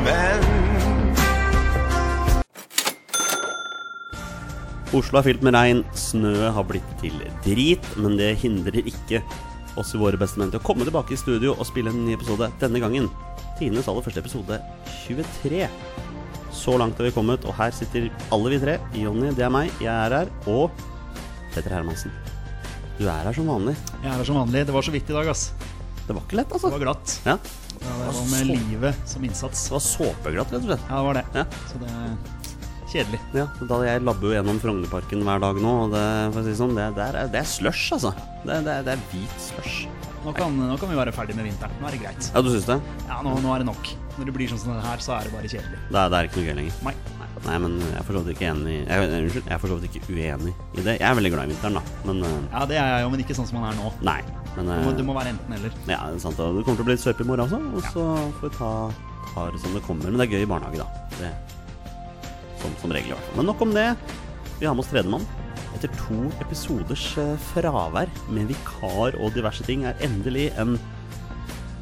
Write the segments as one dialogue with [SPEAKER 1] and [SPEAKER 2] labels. [SPEAKER 1] menn.
[SPEAKER 2] Oslo er fylt med regn, snø har blitt til drit, men det hindrer ikke oss i våre beste menn til å komme tilbake i studio og spille en ny episode denne gangen. Tidenes aller første episode 23. Så langt har vi kommet, og her sitter alle vi tre. Jonny, det er meg, jeg er her, og Petter Hermansen. Du er her som vanlig.
[SPEAKER 3] Jeg er her som vanlig. Det var så vidt i dag, ass.
[SPEAKER 2] Det var ikke lett,
[SPEAKER 3] Det var
[SPEAKER 2] altså.
[SPEAKER 3] glatt.
[SPEAKER 2] Ja, det
[SPEAKER 3] Ja, det var med
[SPEAKER 4] Sånn.
[SPEAKER 3] livet som innsats.
[SPEAKER 2] var såpeglatt, rett og slett.
[SPEAKER 3] Ja, det var det.
[SPEAKER 2] Ja.
[SPEAKER 3] Så det er kjedelig.
[SPEAKER 2] Ja, da jeg labber jo gjennom Frognerparken hver dag nå, og det, for å si det sånn, det, det, er, det er slush, altså. Det, det, det er hvit slush.
[SPEAKER 3] Nå kan, nå kan vi være ferdig med vinteren. Nå er det greit.
[SPEAKER 2] Ja, du syns det?
[SPEAKER 3] Ja, nå, nå er det nok. Når det blir sånn som det her, så er det bare kjedelig.
[SPEAKER 2] Det er, det er ikke noe gøy lenger.
[SPEAKER 3] Nei.
[SPEAKER 2] Nei, men jeg er for så vidt ikke enig jeg, Unnskyld, jeg er for så vidt ikke uenig i det. Jeg er veldig glad i vinteren, da. Men eh,
[SPEAKER 3] Ja, det er jeg jo, men ikke sånn som man er nå.
[SPEAKER 2] nei. Men
[SPEAKER 3] Det må, det
[SPEAKER 2] eh,
[SPEAKER 3] må være enten eller.
[SPEAKER 2] ja, det er sant. Og det kommer til å bli litt søpp i morgen også, og så får vi ta, ta det som det kommer. Men det er gøy i barnehage, da. Det, som, som regel, i hvert fall. Men nok om det. Vi har med oss tredjemann. Etter to episoders eh, fravær med vikar og diverse ting, er endelig en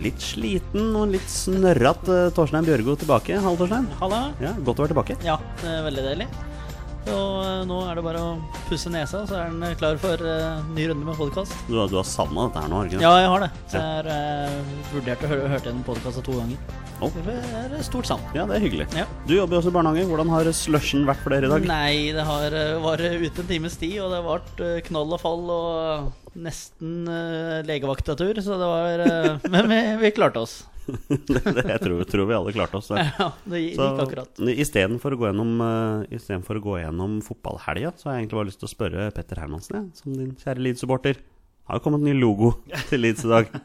[SPEAKER 2] litt sliten og litt snørrete eh, Torstein Bjørgo tilbake. Hallo, Torstein.
[SPEAKER 4] Halla.
[SPEAKER 2] Ja, godt å være tilbake.
[SPEAKER 4] Ja, det er veldig deilig. Og eh, nå er det bare å pusse nesa, så er den eh, klar for eh, ny runde med podkast.
[SPEAKER 2] Du, har- du har savna dette her nå, har du ikke det?
[SPEAKER 4] Ja, jeg har det. Så jeg har eh, vurdert å høre, hørt gjennom podkasta to ganger.
[SPEAKER 2] Å.
[SPEAKER 4] Det er et stort savn.
[SPEAKER 2] Ja, det er hyggelig.
[SPEAKER 4] Ja.
[SPEAKER 2] Du jobber jo også i barnehage. Hvordan har slushen vært for dere i dag?
[SPEAKER 4] Nei, det har, eh, var eh, ute en times tid, og det vart eh, knall og fall og nesten eh, legevaktatur, så det var eh, Men vi, vi klarte oss.
[SPEAKER 2] det, det, jeg tror, tror vi alle klarte oss. der.
[SPEAKER 4] Ja, det gikk
[SPEAKER 2] Så
[SPEAKER 4] akkurat.
[SPEAKER 2] istedenfor å gå gjennom, eh, i stedet for å gå gjennom fotballhelga, så har jeg egentlig bare lyst til å spørre Petter Hermansen, jeg, som din kjære Leeds-supporter. Har jo kommet ny logo til Leeds i dag.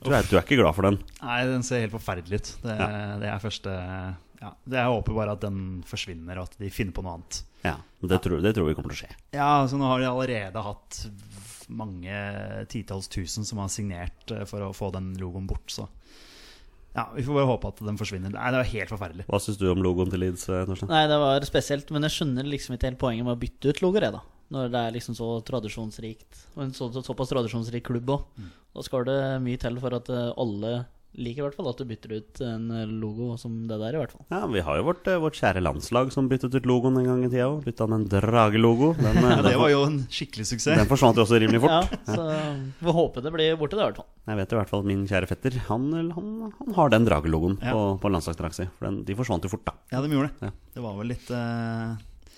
[SPEAKER 2] Du er, du er ikke glad for den?
[SPEAKER 3] Nei, den ser helt forferdelig ut. Det, det er første ja, det Jeg håper bare at den forsvinner, og at de finner på noe annet.
[SPEAKER 2] Ja, men det tror, det tror vi kommer til å skje.
[SPEAKER 3] Ja, altså nå har de allerede hatt mange titalls tusen som har signert eh, for å få den logoen bort, så ja, vi får bare håpe at den forsvinner. Nei, det er helt forferdelig.
[SPEAKER 2] Hva syns du om logoen til Leeds, eh, Torstein?
[SPEAKER 4] Nei, det var spesielt, men jeg skjønner liksom ikke helt poenget med å bytte ut logoer, jeg, da. Når det er liksom så tradisjonsrikt, og en så, så, såpass tradisjonsrik klubb òg. Da skal det mye til for at eh, alle liker i hvert fall at du bytter ut en logo som det der, i hvert fall.
[SPEAKER 2] Ja, Vi har jo vårt, eh, vårt kjære landslag som byttet ut logoen en gang i tida òg. Bytta med en dragelogo. Den, eh,
[SPEAKER 3] Ja, det
[SPEAKER 2] den,
[SPEAKER 3] var jo en skikkelig suksess.
[SPEAKER 2] den forsvant jo også rimelig fort.
[SPEAKER 4] Ja, så vi håper det blir borte, det, i hvert fall.
[SPEAKER 2] Jeg vet i hvert fall at min kjære fetter han, han, han har den dragelogoen
[SPEAKER 3] Ja.
[SPEAKER 2] på, på landslagsdrakta si. For den, de forsvant jo fort, da.
[SPEAKER 3] Ja, de gjorde
[SPEAKER 2] Ja.
[SPEAKER 3] det. Det var vel litt, eh,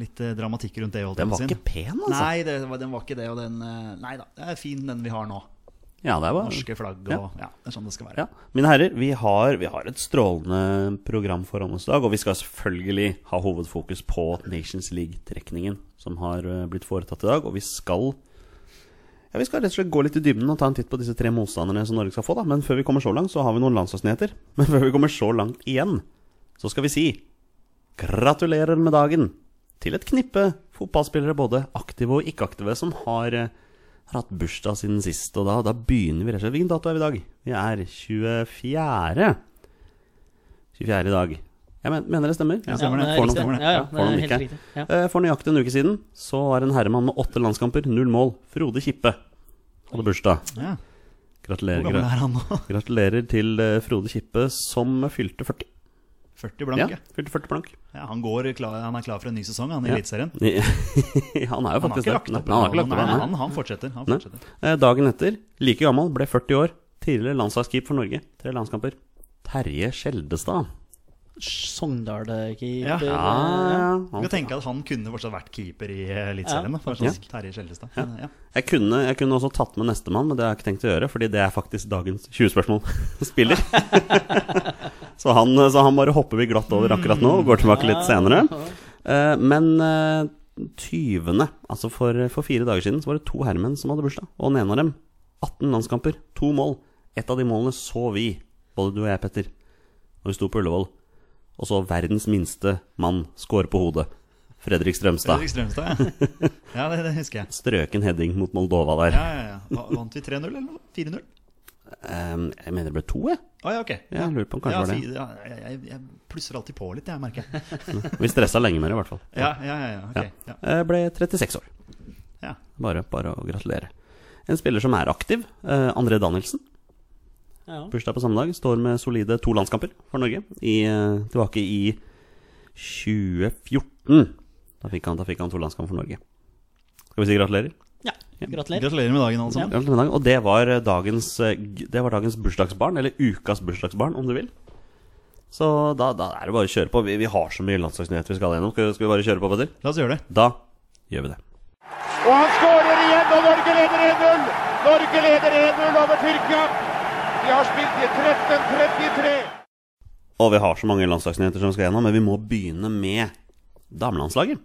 [SPEAKER 3] litt eh, dramatikk rundt det. holdt jeg
[SPEAKER 2] Den
[SPEAKER 3] på å
[SPEAKER 2] var
[SPEAKER 3] si.
[SPEAKER 2] ikke pen, altså.
[SPEAKER 3] Nei, det, var- den var ikke det. Og den, eh, nei da, det er fin den vi har nå.
[SPEAKER 2] Mm. Ja, det var,
[SPEAKER 3] Norske flagg og ja, det er sånn det skal være.
[SPEAKER 2] ja. Mine herrer, vi har, vi har et strålende program foran oss i dag. Og vi skal selvfølgelig ha hovedfokus på Nations League-trekningen som har eh, blitt foretatt i dag. Og vi skal ja, vi skal rett og slett gå litt i dybden og ta en titt på disse tre motstanderne som Norge skal få. da Men før vi kommer så langt, så har vi noen landslagsnyheter. Men før vi kommer så langt igjen, så skal vi si gratulerer med dagen til et knippe fotballspillere, både aktive og ikke-aktive, som har, eh, har hatt bursdag siden sist. Og da, da begynner vi rett og slett Hvilken dato er vi i dag? Vi er 24. 24 i dag. Jeg men, mener det stemmer.
[SPEAKER 3] det stemmer det.
[SPEAKER 4] er
[SPEAKER 3] Får
[SPEAKER 4] riktig.
[SPEAKER 3] noen stemmer det.
[SPEAKER 4] Ja, ja,
[SPEAKER 2] Ja, får
[SPEAKER 4] det
[SPEAKER 2] noen
[SPEAKER 4] er helt
[SPEAKER 2] ikke.
[SPEAKER 4] riktig. Ja.
[SPEAKER 2] Eh, For nøyaktig en uke siden så var en herremann med åtte landskamper, null mål, Frode Kippe, hadde bursdag.
[SPEAKER 3] Ja. Hvor
[SPEAKER 2] Gratulerer,
[SPEAKER 3] gammel
[SPEAKER 2] gra-
[SPEAKER 3] er han nå?
[SPEAKER 2] gratulerer til eh, Frode Kippe som fylte 40.
[SPEAKER 3] 40 blank.
[SPEAKER 2] Ja,
[SPEAKER 3] Ja.
[SPEAKER 2] fylte 40 blank.
[SPEAKER 3] Ja, han, går klar, han er klar for en ny sesong, han i
[SPEAKER 2] Ja.
[SPEAKER 3] Eliteserien.
[SPEAKER 2] han er jo
[SPEAKER 3] Han har
[SPEAKER 2] faktisk
[SPEAKER 3] ikke lagt
[SPEAKER 2] Nei,
[SPEAKER 3] opp
[SPEAKER 2] han har
[SPEAKER 3] planen.
[SPEAKER 2] ikke lagt opp
[SPEAKER 3] Nei,
[SPEAKER 2] planen, nei.
[SPEAKER 3] han, han fortsetter. Han
[SPEAKER 2] Nei.
[SPEAKER 3] fortsetter.
[SPEAKER 2] Eh, Dagen etter, like gammel, ble 40 år. Tidligere landslagskeeper for Norge. Tre landskamper. Terje Skjeldestad.
[SPEAKER 4] Sogndal-keeper.
[SPEAKER 3] Ja.
[SPEAKER 2] Ja,
[SPEAKER 4] eh,
[SPEAKER 2] ja.
[SPEAKER 3] Du kan
[SPEAKER 2] Han,
[SPEAKER 3] tenke at han kunne fortsatt vært keeper i Eliteserien.
[SPEAKER 4] Ja,
[SPEAKER 3] da, for sånn Terje Skjeldestad. Men, Ja.
[SPEAKER 2] jeg, kunne, jeg kunne også tatt med nestemann, men det har jeg ikke tenkt å gjøre, fordi det er faktisk dagens 20-spørsmål-spiller. så, han- så han bare hopper vi glatt over akkurat nå, og går tilbake litt senere. Eh, Men eh, 20., altså for, for fire dager siden, så var det to herremenn som hadde bursdag. Og den ene av dem, 18 landskamper, to mål. Et av de målene så vi, både du og jeg, Petter, når vi sto på Ullevål. Og så verdens minste mann score på hodet. Fredrik Strømstad.
[SPEAKER 3] Fredrik Strømstad, ja. ja det, det husker jeg.
[SPEAKER 2] Strøken heading mot Moldova der.
[SPEAKER 3] Ja, ja, ja. Va- Vant vi 3-0 eller noe? 4-0?
[SPEAKER 2] Eh, Jeg mener det ble to, jeg.
[SPEAKER 3] Å ja, ok.
[SPEAKER 2] Jeg lurer på om kanskje
[SPEAKER 3] Ja,
[SPEAKER 2] var det.
[SPEAKER 3] fi- ja, jeg, jeg- jeg plusser alltid på litt, jeg merker jeg.
[SPEAKER 2] Vi stressa lenge med det, i hvert fall.
[SPEAKER 3] Ja, ja, ja, ja, ok. Ja.
[SPEAKER 2] Eh, Ble 36 år.
[SPEAKER 3] Ja.
[SPEAKER 2] Bare, bare å gratulere. En spiller som er aktiv, eh, André Danielsen.
[SPEAKER 4] Ja.
[SPEAKER 2] Bursdag på samme dag. Står med solide to landskamper for Norge. I, eh, tilbake i 2014. Da fikk han, da fikk han to landskamper for Norge. Skal vi si gratulerer?
[SPEAKER 4] ja. Gratulerer.
[SPEAKER 3] Gratulerer med dagen, alle sammen.
[SPEAKER 2] Gratulerer med dagen. Og det var eh, dagens, eh, g- det var dagens bursdagsbarn, eller ukas bursdagsbarn, om du vil. Så da, da er det bare å kjøre på. Vi, vi har så mye landslagsnyheter vi skal gjennom. Skal, skal vi bare kjøre på, Petter?
[SPEAKER 3] La oss gjøre det.
[SPEAKER 2] Da gjør vi det.
[SPEAKER 1] Og han skårer igjen, og Norge leder 1-0! Norge leder 1-0 over Tyrkia! De har spilt i 13-33.
[SPEAKER 2] Og vi har så mange landslagsnyheter som vi skal gjennom, men vi må begynne med damelandslaget.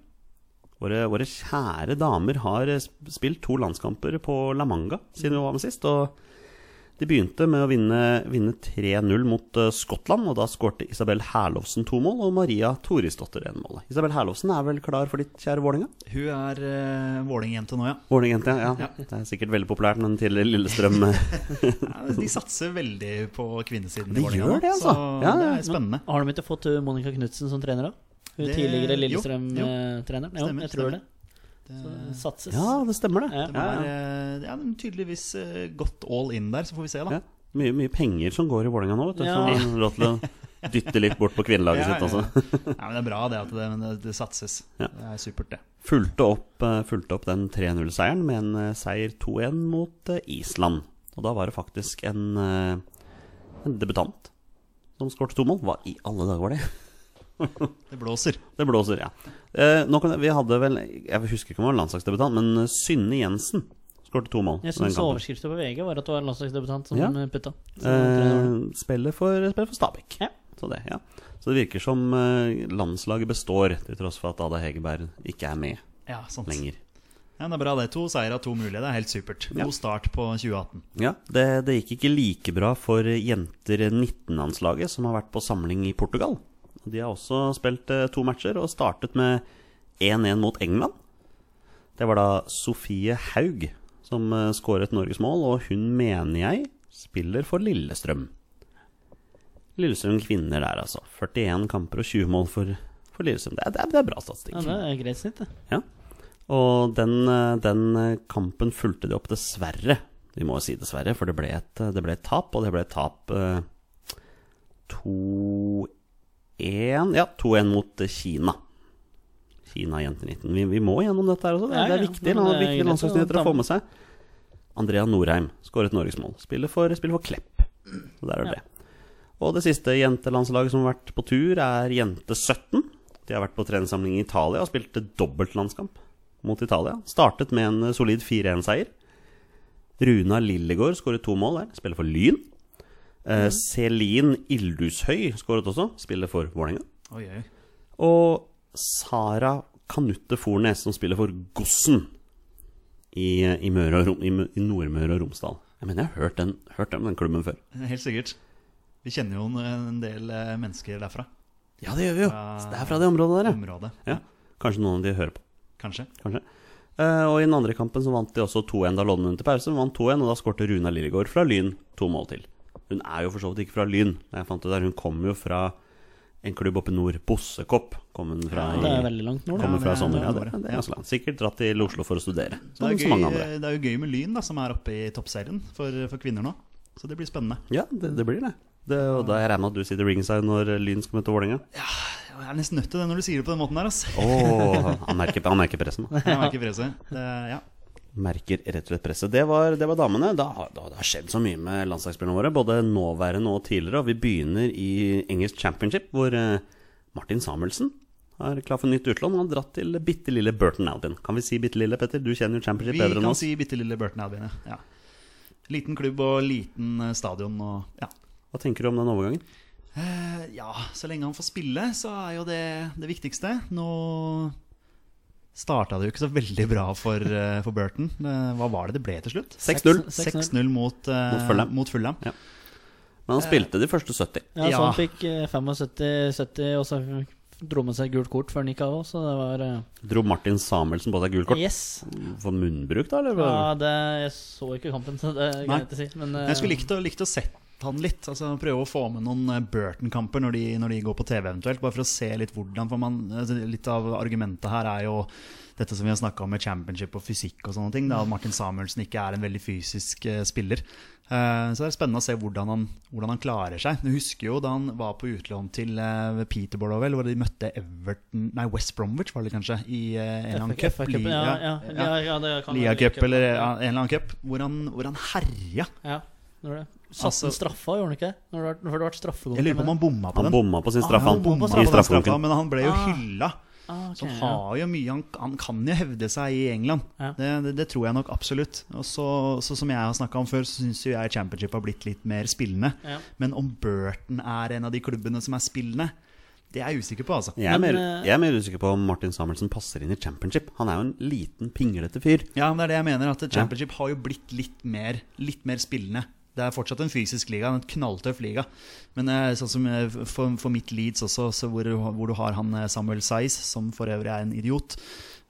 [SPEAKER 2] Våre, våre kjære damer har eh, sp- spilt to landskamper på La Manga siden vi var med sist. Og de begynte med å vinne, vinne 3-0 mot eh, Skottland, og da skårte Isabel Herlovsen to mål og Maria Torisdottir én mål. Isabel Herlovsen er vel klar for ditt kjære Vålinga?
[SPEAKER 3] Hun er uh, Vålerenga-jente nå, ja.
[SPEAKER 2] Vålinga-jente, ja. ja. Det er sikkert veldig populært med den tidligere Lillestrøm. eh.
[SPEAKER 3] Ja, De satser veldig på kvinnesiden
[SPEAKER 2] De
[SPEAKER 3] i Vålerenga.
[SPEAKER 2] gjør
[SPEAKER 3] nå,
[SPEAKER 2] det, altså.
[SPEAKER 3] Så
[SPEAKER 2] Ja,
[SPEAKER 3] det
[SPEAKER 2] ja,
[SPEAKER 3] er spennende.
[SPEAKER 4] Har de ikke fått uh, Monica Knutsen som trener, da? Hun
[SPEAKER 3] Det-
[SPEAKER 4] tidligere
[SPEAKER 3] jo, jo.
[SPEAKER 4] Lillestrøm-treneren? Jo,
[SPEAKER 3] Stemmer,
[SPEAKER 4] jeg tror
[SPEAKER 3] stemmer.
[SPEAKER 4] det. Så satses.
[SPEAKER 2] Ja, det stemmer det.
[SPEAKER 4] Ja.
[SPEAKER 3] De
[SPEAKER 2] Ja,
[SPEAKER 3] er,
[SPEAKER 2] ja.
[SPEAKER 3] eh, ja, de er tydeligvis eh, gått all in der, så får vi se, da.
[SPEAKER 2] Ja. Mye, mye penger som går i Vålerenga nå, vet du.
[SPEAKER 4] Ja.
[SPEAKER 2] Som har råd til å dytte litt bort på kvinnelaget
[SPEAKER 3] Ja,
[SPEAKER 2] sitt.
[SPEAKER 3] ja, ja.
[SPEAKER 2] Altså.
[SPEAKER 3] Ja, men Det er bra det at det, men det, det satses.
[SPEAKER 2] Ja.
[SPEAKER 3] Det er supert, det.
[SPEAKER 2] Fulgte, opp, eh, fulgte opp den 3-0-seieren med en eh, seier 2-1 mot eh, Island. Og da var det faktisk en, eh, en debutant som skåret to mål. Hva i alle dager var det?
[SPEAKER 3] Det blåser.
[SPEAKER 2] Det blåser, ja. Eh, nå kan, jeg- vi hadde vel Jeg husker ikke om han var landslagsdebutant, men eh, Synne Jensen skårte to mål.
[SPEAKER 4] Jeg
[SPEAKER 2] i den
[SPEAKER 4] syns
[SPEAKER 2] kampen.
[SPEAKER 4] overskriften på VG var at det var en landslagsdebutant som
[SPEAKER 2] Ja.
[SPEAKER 4] eh, putta. Så treneren-
[SPEAKER 2] Eh, spiller, for, spiller for Stabæk.
[SPEAKER 4] Ja.
[SPEAKER 2] Så, det, ja. så det virker som eh, landslaget består, til tross for at Ada Hegerberg ikke er med
[SPEAKER 3] Ja, sant.
[SPEAKER 2] lenger.
[SPEAKER 3] Ja, men det er bra, det. To seire av to mulige. Det er helt supert. God
[SPEAKER 2] Ja.
[SPEAKER 3] start på 2018.
[SPEAKER 2] Ja, det, det gikk ikke like bra for jenter 19-landslaget, som har vært på samling i Portugal. De har også spilt eh, to matcher og startet med 1-1 mot England. Det var da Sofie Haug som eh, skåret Norges mål, og hun mener jeg spiller for Lillestrøm. Lillestrøm kvinner der, altså. 41 kamper og 20 mål for, for Lillestrøm. Det er, det er, det er bra statistikk.
[SPEAKER 4] Ja, det er greit snitt, det.
[SPEAKER 2] Ja. Og den, eh, den eh, kampen fulgte de opp, dessverre. Vi må jo si dessverre, for det ble et, eh, det ble et tap, og det ble et tap eh, 2-1 Ja, 2-1 mot eh, Kina. Kina, jenter 19. Vi, vi må gjennom dette her også. Det,
[SPEAKER 4] Ja,
[SPEAKER 2] det er
[SPEAKER 4] ja.
[SPEAKER 2] viktig, det
[SPEAKER 4] Men det
[SPEAKER 2] er
[SPEAKER 4] er
[SPEAKER 2] viktige
[SPEAKER 4] greit å
[SPEAKER 2] landslagsnyheter
[SPEAKER 4] ta
[SPEAKER 2] å få med seg. Andrea Norheim skåret norgesmål. Spiller for, spiller for Klepp. Så der er det. Og det siste jentelandslaget som har vært på tur, er Jente 17. De har vært på treningssamling i Italia og spilte dobbeltlandskamp mot Italia. Startet med en solid 4-1-seier. Runa Lillegård skåret to mål der. Spiller for Lyn. Eh, Selin Ildushøy skåret også. Spiller for Vålerenga.
[SPEAKER 3] Oi, oi.
[SPEAKER 2] Og Sara Kanutte Fornes, som spiller for Gossen i, i, Møre og Rom, i, Mø- i Nordmøre og Romsdal. Jeg mener, jeg har hørt, den, hørt om den klubben før.
[SPEAKER 3] Helt sikkert. Vi kjenner jo en, en del eh, mennesker derfra.
[SPEAKER 2] Ja, det gjør vi jo!
[SPEAKER 3] Fra-
[SPEAKER 2] Det er fra det området der,
[SPEAKER 3] Området.
[SPEAKER 2] ja. ja. Kanskje noen av de hører på.
[SPEAKER 3] Kanskje.
[SPEAKER 2] kanskje. Eh, og i den andre kampen så vant de også 2-1 da Lodden vant til pause. Vant 2-1, og da skårte Runa Lillegård fra Lyn to mål til. Hun er jo for så vidt ikke fra Lyn. Jeg fant ut der, Hun kommer jo fra en klubb oppe i nord, Bossekopp. Kom hun fra,
[SPEAKER 4] Det er
[SPEAKER 2] i,
[SPEAKER 4] veldig langt nord. da.
[SPEAKER 2] kommer
[SPEAKER 3] Ja,
[SPEAKER 2] fra
[SPEAKER 3] det er-
[SPEAKER 2] sommer. Ja,
[SPEAKER 3] det er
[SPEAKER 2] det,
[SPEAKER 3] nord,
[SPEAKER 2] det er ganske langt. Sikkert dratt til Oslo for å studere.
[SPEAKER 3] Så
[SPEAKER 2] Som
[SPEAKER 3] det, er
[SPEAKER 2] så mange
[SPEAKER 3] gøy, eh,
[SPEAKER 2] andre.
[SPEAKER 3] det er jo gøy med Lyn, da, som er oppe i toppserien for, for kvinner nå. Så det blir spennende.
[SPEAKER 2] Ja, det, det blir det. det. Og da jeg regner med at du sitter ringside når Lyn skal møte Vålerenga.
[SPEAKER 3] Jeg er nesten nødt til det når du sier det på den måten der. Altså.
[SPEAKER 2] Åh, han, merker, han merker pressen. da.
[SPEAKER 3] Jeg merker presset. Det, ja.
[SPEAKER 2] Merker rett og slett presset. Det var, det var damene. Da, har- da, det har skjedd så mye med landslagsspillerne våre, både nåværende og tidligere. Og vi begynner i engelsk championship, hvor eh, Martin Samuelsen er klar for nytt utlån. Han har dratt til bitte lille Burton Albin. Kan vi si bitte lille, Petter? Du kjenner jo championship
[SPEAKER 3] Vi
[SPEAKER 2] bedre enn
[SPEAKER 3] kan
[SPEAKER 2] oss.
[SPEAKER 3] si bitte lille Burton Albion, ja. ja. Liten klubb og liten eh, stadion og ja.
[SPEAKER 2] Hva tenker du om den overgangen?
[SPEAKER 3] Eh, ja, så lenge han får spille, så er jo det det viktigste. Nå starta det jo ikke så veldig bra for, eh, for Burton. Eh, hva var det det ble til slutt?
[SPEAKER 2] 6-0.
[SPEAKER 3] 6-0 mot, eh,
[SPEAKER 2] Mot Fulham.
[SPEAKER 3] mot Fulham.
[SPEAKER 2] Men han spilte de første 70.
[SPEAKER 4] Ja, så
[SPEAKER 3] Ja.
[SPEAKER 4] han fikk eh, 75-70, og så dro man seg gult kort før han gikk av òg, så det var eh,
[SPEAKER 2] Dro Martin Samuelsen på seg gult kort
[SPEAKER 4] Yes.
[SPEAKER 2] for munnbruk, da? Eller?
[SPEAKER 4] Ja, det, jeg så ikke kampen, så det er
[SPEAKER 3] Nei.
[SPEAKER 4] greit å si. Men eh,
[SPEAKER 3] Jeg skulle likt å, likt å sett han litt. Altså Prøve å få med noen eh, Burton-kamper når, de- når de går på TV, eventuelt. Bare for å se litt hvordan. For man, altså, litt av argumentet her er jo dette som vi har snakka om med championship og fysikk og sånne ting. Da at
[SPEAKER 4] Mm.
[SPEAKER 3] Martin Samuelsen ikke er en veldig fysisk eh, spiller. Eh, så det er spennende å se hvordan han, hvordan han klarer seg. Jeg husker jo da han var på utlån til eh, Peterborough, vel, hvor de møtte Everton Nei, West Bromwich, var det kanskje? I eh, en eller annen cup. Li-
[SPEAKER 4] FA-cupen, ja,
[SPEAKER 3] ja,
[SPEAKER 4] ja,
[SPEAKER 3] ja.
[SPEAKER 4] ja, ja, det kan være
[SPEAKER 3] Lia-cup
[SPEAKER 4] Lia-cup,
[SPEAKER 3] eller
[SPEAKER 4] ja.
[SPEAKER 3] ja, en eller annen cup, hvor han, hvor han herja.
[SPEAKER 4] Ja, det var det. Satt
[SPEAKER 3] Altså-
[SPEAKER 4] han straffa, gjorde han ikke det? Når det var, når det var straffegående
[SPEAKER 3] Jeg lurer på om han bomma på
[SPEAKER 2] Han
[SPEAKER 3] den.
[SPEAKER 2] bomma på sin straff,
[SPEAKER 3] Ah,
[SPEAKER 2] han.
[SPEAKER 3] han bomma på
[SPEAKER 2] I
[SPEAKER 3] den straffa,
[SPEAKER 2] straffekonken.
[SPEAKER 3] men han ble jo
[SPEAKER 4] Ah.
[SPEAKER 3] hylla.
[SPEAKER 4] Ah, ok,
[SPEAKER 3] Så han
[SPEAKER 4] ja.
[SPEAKER 3] har jo mye Han, han kan jo hevde seg i England.
[SPEAKER 4] Ja.
[SPEAKER 3] Det, det, det tror jeg nok absolutt. Og så, så som jeg har snakka om før, så syns jo jeg Championship har blitt litt mer spillende.
[SPEAKER 4] Ja.
[SPEAKER 3] Men om Burton er en av de klubbene som er spillende, det er jeg usikker på, altså.
[SPEAKER 2] Jeg er,
[SPEAKER 4] Men,
[SPEAKER 2] mer,
[SPEAKER 4] eh,
[SPEAKER 2] jeg er mer usikker på om Martin Samuelsen passer inn i championship. Han er jo en liten, pinglete fyr.
[SPEAKER 3] Ja, men det er det jeg mener. At Championship har jo blitt litt mer, litt mer spillende. Det er fortsatt en fysisk liga, en knalltøff liga. Men eh, sånn som eh, for, for mitt Leeds også, så hvor, du har- hvor du har han eh, Samuel Saiz, som for øvrig er en idiot.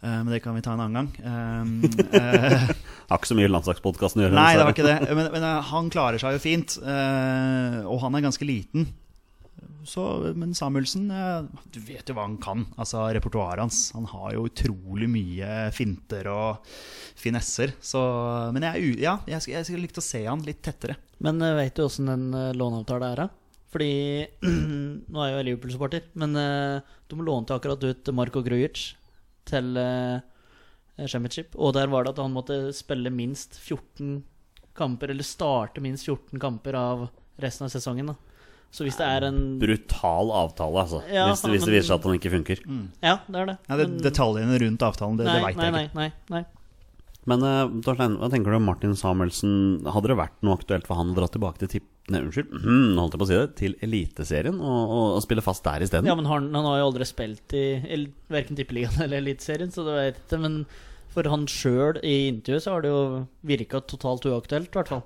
[SPEAKER 3] Eh, Men det kan vi ta en annen gang. Eh, eh,
[SPEAKER 2] Har ikke så mye landslagspodkasten å gjøre.
[SPEAKER 3] Nei, det var
[SPEAKER 2] dessverre.
[SPEAKER 3] ikke det. Men, men eh, han klarer seg jo fint. eh, og han er ganske liten. Så, men Samuelsen eh, Du vet jo hva han kan. Altså Repertoaret hans. Han har jo utrolig mye finter og finesser. Så, men jeg, er u- ja, jeg, skulle- jeg skulle likt å se han litt tettere.
[SPEAKER 4] Men uh, veit du åssen den uh, låneavtalen er, da? Fordi Nå er jeg jo Liverpool-supporter, men eh, de lånte akkurat ut Marko Grujic til eh, Championship, og der var det at han måtte spille minst 14 kamper, eller starte minst 14 kamper av resten av sesongen. da Så hvis det er en
[SPEAKER 2] Brutal avtale, altså.
[SPEAKER 4] Ja,
[SPEAKER 2] hvis, hvis det
[SPEAKER 4] men-
[SPEAKER 2] viser seg at han ikke funker.
[SPEAKER 3] Mm.
[SPEAKER 4] Ja, det er det.
[SPEAKER 3] Ja, det,
[SPEAKER 4] Men-
[SPEAKER 3] detaljene rundt avtalen, det, det
[SPEAKER 4] nei,
[SPEAKER 3] veit jeg
[SPEAKER 4] nei,
[SPEAKER 3] ikke.
[SPEAKER 4] nei, nei, nei.
[SPEAKER 2] Men eh, Torstein, hva tenker du om Martin Samuelsen? Hadde det vært noe aktuelt for han å dra tilbake til tipp... Nei, unnskyld, nå holdt jeg på å si det. Til Eliteserien, og, og, og spille fast der isteden?
[SPEAKER 4] Ja, men han, han har jo aldri spilt i el- verken Tippeligaen eller Eliteserien, så det vet jeg ikke. Men for han sjøl i intervjuet så har det jo virka totalt uaktuelt, i hvert fall.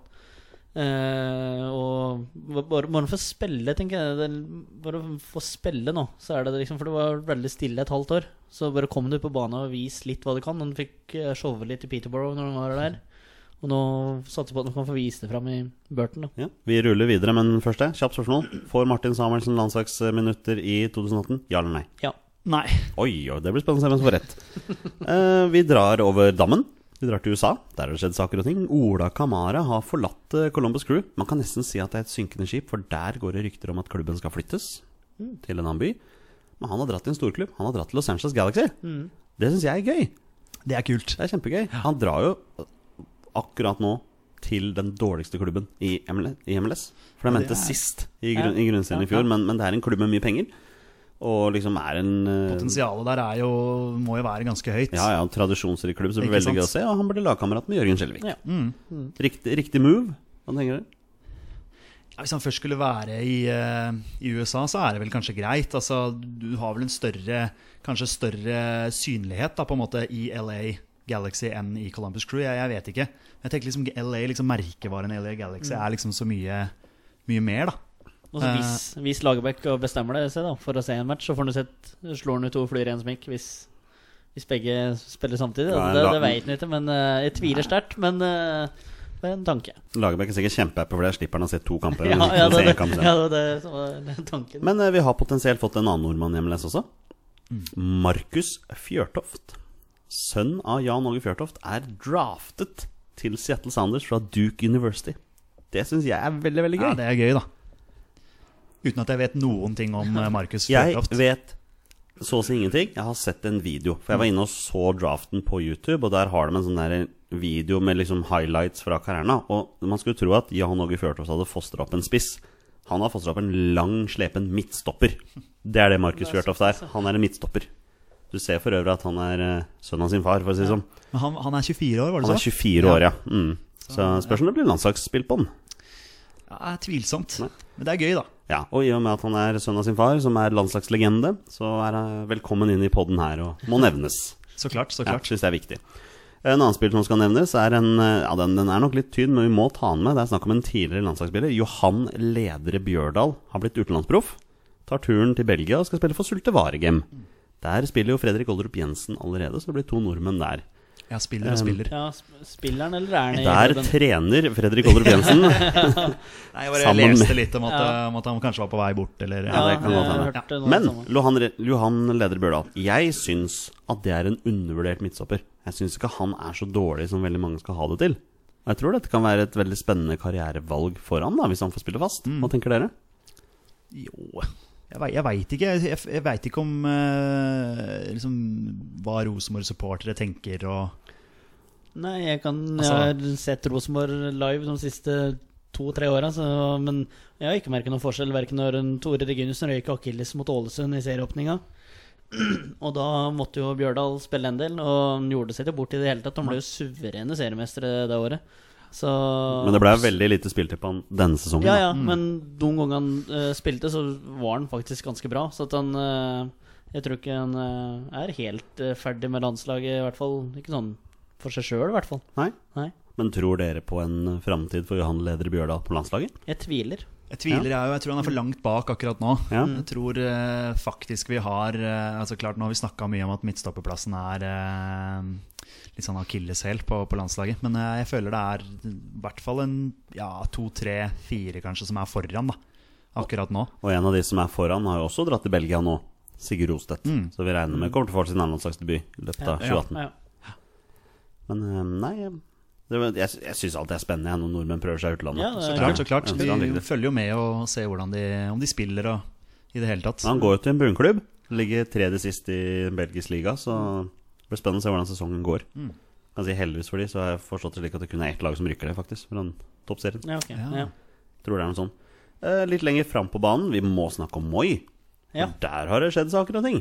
[SPEAKER 4] Eh, og ba- bare, bare få spille, tenker jeg. Det- Bare få spille nå, så er det liksom For det var veldig stille et halvt år. Så bare kom du på banen og vis litt hva du kan. Han fikk eh, showe litt i Peterborough når han var der. Og nå satser jeg på at han kan få vise det fram i Burton, da.
[SPEAKER 2] Ja, Vi ruller videre, men først det. Kjapt spørsmål. Får Martin Samuelsen landslagsminutter i 2018? Ja eller nei?
[SPEAKER 4] Ja.
[SPEAKER 3] Nei.
[SPEAKER 2] Oi, oi, det blir spennende å se hvem som får rett. Eh, vi drar over dammen. Vi drar til USA. Der har det skjedd saker og ting. Ola Kamara har forlatt eh, Columbus Crew. Man kan nesten si at det er et synkende skip, for der går det rykter om at klubben skal flyttes til en annen by. Men han har dratt til en storklubb. Han har dratt til Los Angeles Galaxy. Det syns jeg er gøy.
[SPEAKER 3] Det er kult.
[SPEAKER 2] Det er kjempegøy. Han drar jo eh, akkurat nå til den dårligste klubben i ML- i MLS.
[SPEAKER 3] Ja,
[SPEAKER 2] For de
[SPEAKER 3] det
[SPEAKER 2] mente
[SPEAKER 3] er-
[SPEAKER 2] sist i, grunn,
[SPEAKER 4] Ja,
[SPEAKER 2] i grunnserien
[SPEAKER 4] ja,
[SPEAKER 2] i fjor,
[SPEAKER 4] ja.
[SPEAKER 2] men, men det er en klubb med mye penger. Og liksom er en eh,
[SPEAKER 3] Potensialet der er jo, må jo være ganske høyt.
[SPEAKER 2] ja, ja, en tradisjonsrik klubb, så det blir
[SPEAKER 3] Ikke
[SPEAKER 2] veldig gøy å
[SPEAKER 3] sant?
[SPEAKER 2] se. Og han ble lagkamerat med Jørgen Skjelvik.
[SPEAKER 4] Ja. Mm.
[SPEAKER 2] Riktig, riktig move. Hva tenker du?
[SPEAKER 3] Ja, Hvis han først skulle være i, eh, i USA, så er det vel kanskje greit. Altså, du har vel en større, kanskje større synlighet da, på en måte, i LA Galaxy enn i Columbus Crew. Jeg, jeg vet ikke. Men jeg tenker liksom LA, liksom merkevaren LA Galaxy
[SPEAKER 2] Mm.
[SPEAKER 3] er liksom så mye, mye mer, da.
[SPEAKER 2] Eh.
[SPEAKER 4] Og så Altså, hvis, hvis Lagerbäck bestemmer det seg da, for å se en match, så får han sett slår han ut to flyer i en smikk hvis, hvis begge spiller samtidig.
[SPEAKER 2] Nei,
[SPEAKER 4] Altså, det,
[SPEAKER 2] la-
[SPEAKER 4] det vet han ikke, men eh, jeg tviler sterkt. Men eh, det er en tanke.
[SPEAKER 2] Lagerbäck er sikkert kjempehappy for det. Slipper han å se to kamper.
[SPEAKER 4] Ja,
[SPEAKER 2] eller
[SPEAKER 4] ja, det,
[SPEAKER 2] se
[SPEAKER 4] det,
[SPEAKER 2] en kamp.
[SPEAKER 4] ja, det var det som var tanken.
[SPEAKER 2] Men eh, vi har potensielt fått en annen nordmann i MLS også.
[SPEAKER 4] Mm.
[SPEAKER 2] Markus Fjørtoft. Sønn av Jan Åge Fjørtoft er draftet til Seattle Sounders fra Duke University. Det syns jeg er veldig, veldig gøy.
[SPEAKER 3] Ja, det er gøy, da. Uten at jeg vet noen ting om eh, Markus
[SPEAKER 2] jeg
[SPEAKER 3] Fjørtoft.
[SPEAKER 2] vet så å si ingenting. Jeg har sett en video. For jeg var inne og så draften på YouTube, og der har de en sånn der video med liksom highlights fra karrieren. da. Og man skulle tro at Jan Åge Fjørtoft hadde fostra opp en spiss. Han har fostra opp en lang, slepen midtstopper. Det er det Markus Fjørtoft er. Han er en midtstopper. Du ser for øvrig at han er eh, sønnen av sin far, for å si det sånn.
[SPEAKER 3] Men han, han er 24 år, var
[SPEAKER 2] Han
[SPEAKER 3] det
[SPEAKER 2] er
[SPEAKER 3] så?
[SPEAKER 2] 24 år, ja. Mm. Så spørs om det blir landslagsspill på han.
[SPEAKER 3] Ja, det er tvilsomt. Men det er gøy, da.
[SPEAKER 2] Ja, og i og med at han er sønn av sin far, som er landslagslegende, så er han velkommen inn i podden her og må nevnes.
[SPEAKER 3] Så klart, så
[SPEAKER 2] Ja,
[SPEAKER 3] klart.
[SPEAKER 2] synes det er viktig. En annen spiller som skal nevnes, er en eh, Ja, den, den er nok litt tynn, men vi må ta den med. Det er snakk om en tidligere landslagsspiller. Johan Ledre Bjørdal har blitt utenlandsproff. Tar turen til Belgia og skal spille for Sulte Varegem. Der spiller jo Fredrik Oldrup Jensen allerede, så det blir to nordmenn der.
[SPEAKER 3] Ja, spiller og
[SPEAKER 2] Um,
[SPEAKER 3] spiller.
[SPEAKER 4] Ja, sp- spilleren eller er han i
[SPEAKER 2] Der
[SPEAKER 4] klubben?
[SPEAKER 2] trener Fredrik Olrup Jensen.
[SPEAKER 3] Nei, jeg bare
[SPEAKER 2] sammen med-
[SPEAKER 3] leste litt om at, eh,
[SPEAKER 4] Ja.
[SPEAKER 3] om at han kanskje var på vei bort, eller
[SPEAKER 2] Ja, det kan
[SPEAKER 4] jeg
[SPEAKER 2] godt hende.
[SPEAKER 4] hørte noe
[SPEAKER 2] Men
[SPEAKER 4] sånt.
[SPEAKER 2] Lohan, Re- Johan Leder Bjørdal, jeg syns at det er en undervurdert midtstopper. Jeg syns ikke han er så dårlig som veldig mange skal ha det til. Og jeg tror dette kan være et veldig spennende karrierevalg for han, da, hvis han får spille fast. Hva tenker dere?
[SPEAKER 3] Jo Jeg, vei- jeg veit ikke. Jeg, jeg veit ikke om eh, liksom, hva Rosenborg-supportere tenker og
[SPEAKER 4] Nei, jeg, kan,
[SPEAKER 3] Altså-
[SPEAKER 4] jeg har sett Rosenborg live de siste to-tre åra, så- men jeg har ikke merket noen forskjell. Verken når en Tore Reginussen røyk akilles mot Ålesund i serieåpninga. Og da måtte jo Bjørdal spille en del, og han gjorde seg ikke bort i det hele tatt. Han ble jo suverene seriemestere det året. Så
[SPEAKER 2] Men det ble veldig Mm. lite spiltid på han denne sesongen.
[SPEAKER 4] Ja,
[SPEAKER 2] da.
[SPEAKER 4] ja, men de gangene han eh, spilte, så var han faktisk ganske bra. Så at han eh, Jeg tror ikke han eh, er helt eh, ferdig med landslaget, i hvert fall. Ikke sånn for seg sjøl, i hvert fall.
[SPEAKER 2] Nei?
[SPEAKER 4] Nei.
[SPEAKER 2] Men tror dere på en framtid for Johan Leder Bjørdal på landslaget?
[SPEAKER 4] Jeg tviler.
[SPEAKER 3] Jeg tviler, jeg òg. Jeg tror han er for langt bak akkurat nå.
[SPEAKER 2] Ja.
[SPEAKER 3] Jeg tror eh, faktisk vi har eh, altså klart Nå har vi snakka mye om at midtstopperplassen er eh, litt sånn akilleshæl på, på landslaget. Men eh, jeg føler det er i hvert fall en ja, to, tre, fire kanskje som er foran da akkurat nå.
[SPEAKER 2] Og en av de som er foran, har jo også dratt til Belgia nå. Sigurd Rostedt. Så vi regner med kommer til å få sin landslagsdebut i løpet av
[SPEAKER 3] Ja, ja,
[SPEAKER 2] 2018.
[SPEAKER 4] Ja.
[SPEAKER 2] Men eh, nei det, var- Jeg, jeg syns alltid det er spennende jeg, når nordmenn prøver seg i utlandet.
[SPEAKER 4] Ja, det er
[SPEAKER 3] Så klart, så klart.
[SPEAKER 2] Ja, så han ligger
[SPEAKER 3] Vi
[SPEAKER 2] det.
[SPEAKER 3] følger jo med og ser hvordan de, om de spiller og i det hele tatt.
[SPEAKER 2] Men han går jo til en bunnklubb. Ligger tredje sist i belgisk liga, så det blir spennende å se hvordan sesongen går.
[SPEAKER 4] Mm.
[SPEAKER 2] Kan si Heldigvis for de, så har jeg forstått det slik at det kun er ett lag som rykker det, faktisk. Fra den toppserien.
[SPEAKER 4] Ja, ok.
[SPEAKER 3] Ja.
[SPEAKER 4] Ja.
[SPEAKER 2] Tror det er noe sånn. Eh, litt lenger fram på banen, vi må snakke om Moi.
[SPEAKER 4] Ja.
[SPEAKER 2] For Der har det skjedd saker og ting.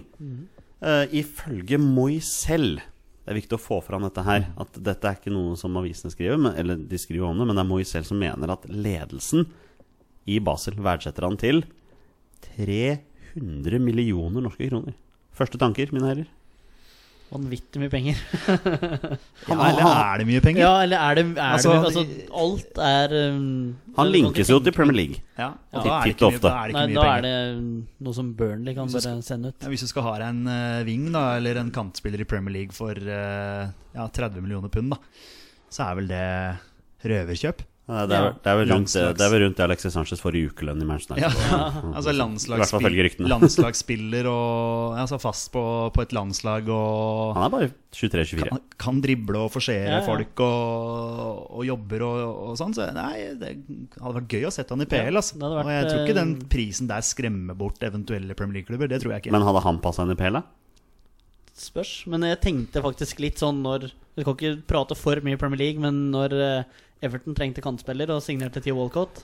[SPEAKER 2] Eh, ifølge Moi selv Det er viktig å få fram dette her.
[SPEAKER 4] Mm.
[SPEAKER 2] At dette er ikke noe som avisene skriver, men, eller de skriver om det, men det er Moi selv som mener at ledelsen i Basel verdsetter han til 300 millioner norske kroner. Første tanker, mine herrer?
[SPEAKER 4] Vanvittig mye penger.
[SPEAKER 3] Ja, eller er det mye penger?
[SPEAKER 4] Ja, eller er det, er
[SPEAKER 3] Altså,
[SPEAKER 4] det mye- altså, Alt er um,
[SPEAKER 2] Han
[SPEAKER 4] eller kan
[SPEAKER 2] linkes
[SPEAKER 4] ikke
[SPEAKER 2] jo til
[SPEAKER 4] tenke-
[SPEAKER 2] Premier League.
[SPEAKER 3] Ja, da
[SPEAKER 2] Ja.
[SPEAKER 3] er det
[SPEAKER 2] Titt
[SPEAKER 3] ikke
[SPEAKER 2] og
[SPEAKER 3] mye,
[SPEAKER 2] ofte.
[SPEAKER 3] da er det
[SPEAKER 4] Nei,
[SPEAKER 3] ikke mye
[SPEAKER 4] da
[SPEAKER 3] penger.
[SPEAKER 4] er det um, noe som Burnley kan bare sende ut.
[SPEAKER 3] Ja, hvis du skal ha deg en eh, wing da, eller en kantspiller i Premier League for eh, ja, 30 millioner pund, da, så er vel det røverkjøp?
[SPEAKER 2] Eh, Det er,
[SPEAKER 4] Ja.
[SPEAKER 2] det er vel rundt, eh,
[SPEAKER 3] Landslags.
[SPEAKER 2] det er vel rundt det Alexis Sanchez får i ukelønn i Manchester
[SPEAKER 3] Ja.
[SPEAKER 2] United.
[SPEAKER 3] Altså
[SPEAKER 2] I hvert fall ifølge
[SPEAKER 3] landslagsspiller,
[SPEAKER 2] ryktene.
[SPEAKER 3] landslagsspiller og altså fast på, på et landslag og
[SPEAKER 2] Han er bare 23-24.
[SPEAKER 3] kan, kan drible og forsere
[SPEAKER 4] Ja, ja.
[SPEAKER 3] folk og, og jobber og, og sånn. Så nei, det hadde vært gøy å sette han i PL. Altså.
[SPEAKER 4] det hadde vært,
[SPEAKER 3] og jeg tror ikke den
[SPEAKER 4] eh,
[SPEAKER 3] prisen der skremmer bort eventuelle Premier League-klubber. Det tror jeg ikke.
[SPEAKER 2] Men hadde han passa inn i PL, da?
[SPEAKER 4] spørs. Men jeg tenkte faktisk litt sånn når Vi kan ikke prate for mye Premier League, men når eh, Everton trengte kantspiller og signerte til Walcott,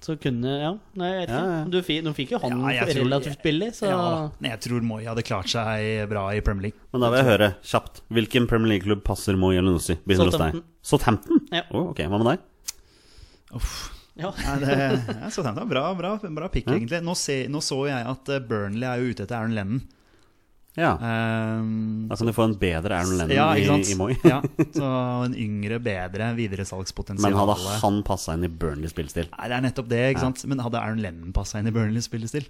[SPEAKER 4] så kunne Ja, nei, jeg vet ikke.
[SPEAKER 2] Ja, ja.
[SPEAKER 4] Du fi- Nå fikk jo han
[SPEAKER 3] Ja, jeg tror-
[SPEAKER 4] relativt billig, så
[SPEAKER 3] ja, da. Men jeg tror Moi hadde klart seg bra i Premier League.
[SPEAKER 2] Men da vil jeg høre kjapt. Hvilken Premier League-klubb passer Mo Jelenossi? Begynner hos deg.
[SPEAKER 4] Southampton.
[SPEAKER 2] Southampton?
[SPEAKER 4] Ja.
[SPEAKER 2] Å, ok, Hva med deg?
[SPEAKER 3] Eh, Uff.
[SPEAKER 4] ja.
[SPEAKER 3] Nei, det, jeg så den, det var bra, bra, bra pick, egentlig. Nå, se, nå så jeg at eh, Burnley er jo ute etter Aaron Lennon.
[SPEAKER 2] Ja.
[SPEAKER 3] Ehm,
[SPEAKER 2] Da kan du få en bedre Aaron Lennon
[SPEAKER 3] ja, ikke sant?
[SPEAKER 2] i, i Moi.
[SPEAKER 3] ja, så en yngre, bedre videresalgspotensial.
[SPEAKER 2] Men hadde han passa inn i Burnley-spillstil?
[SPEAKER 3] Nei, det er nettopp det, ikke sant? Men hadde Aaron Lennon passa inn i Burnleys spillestil?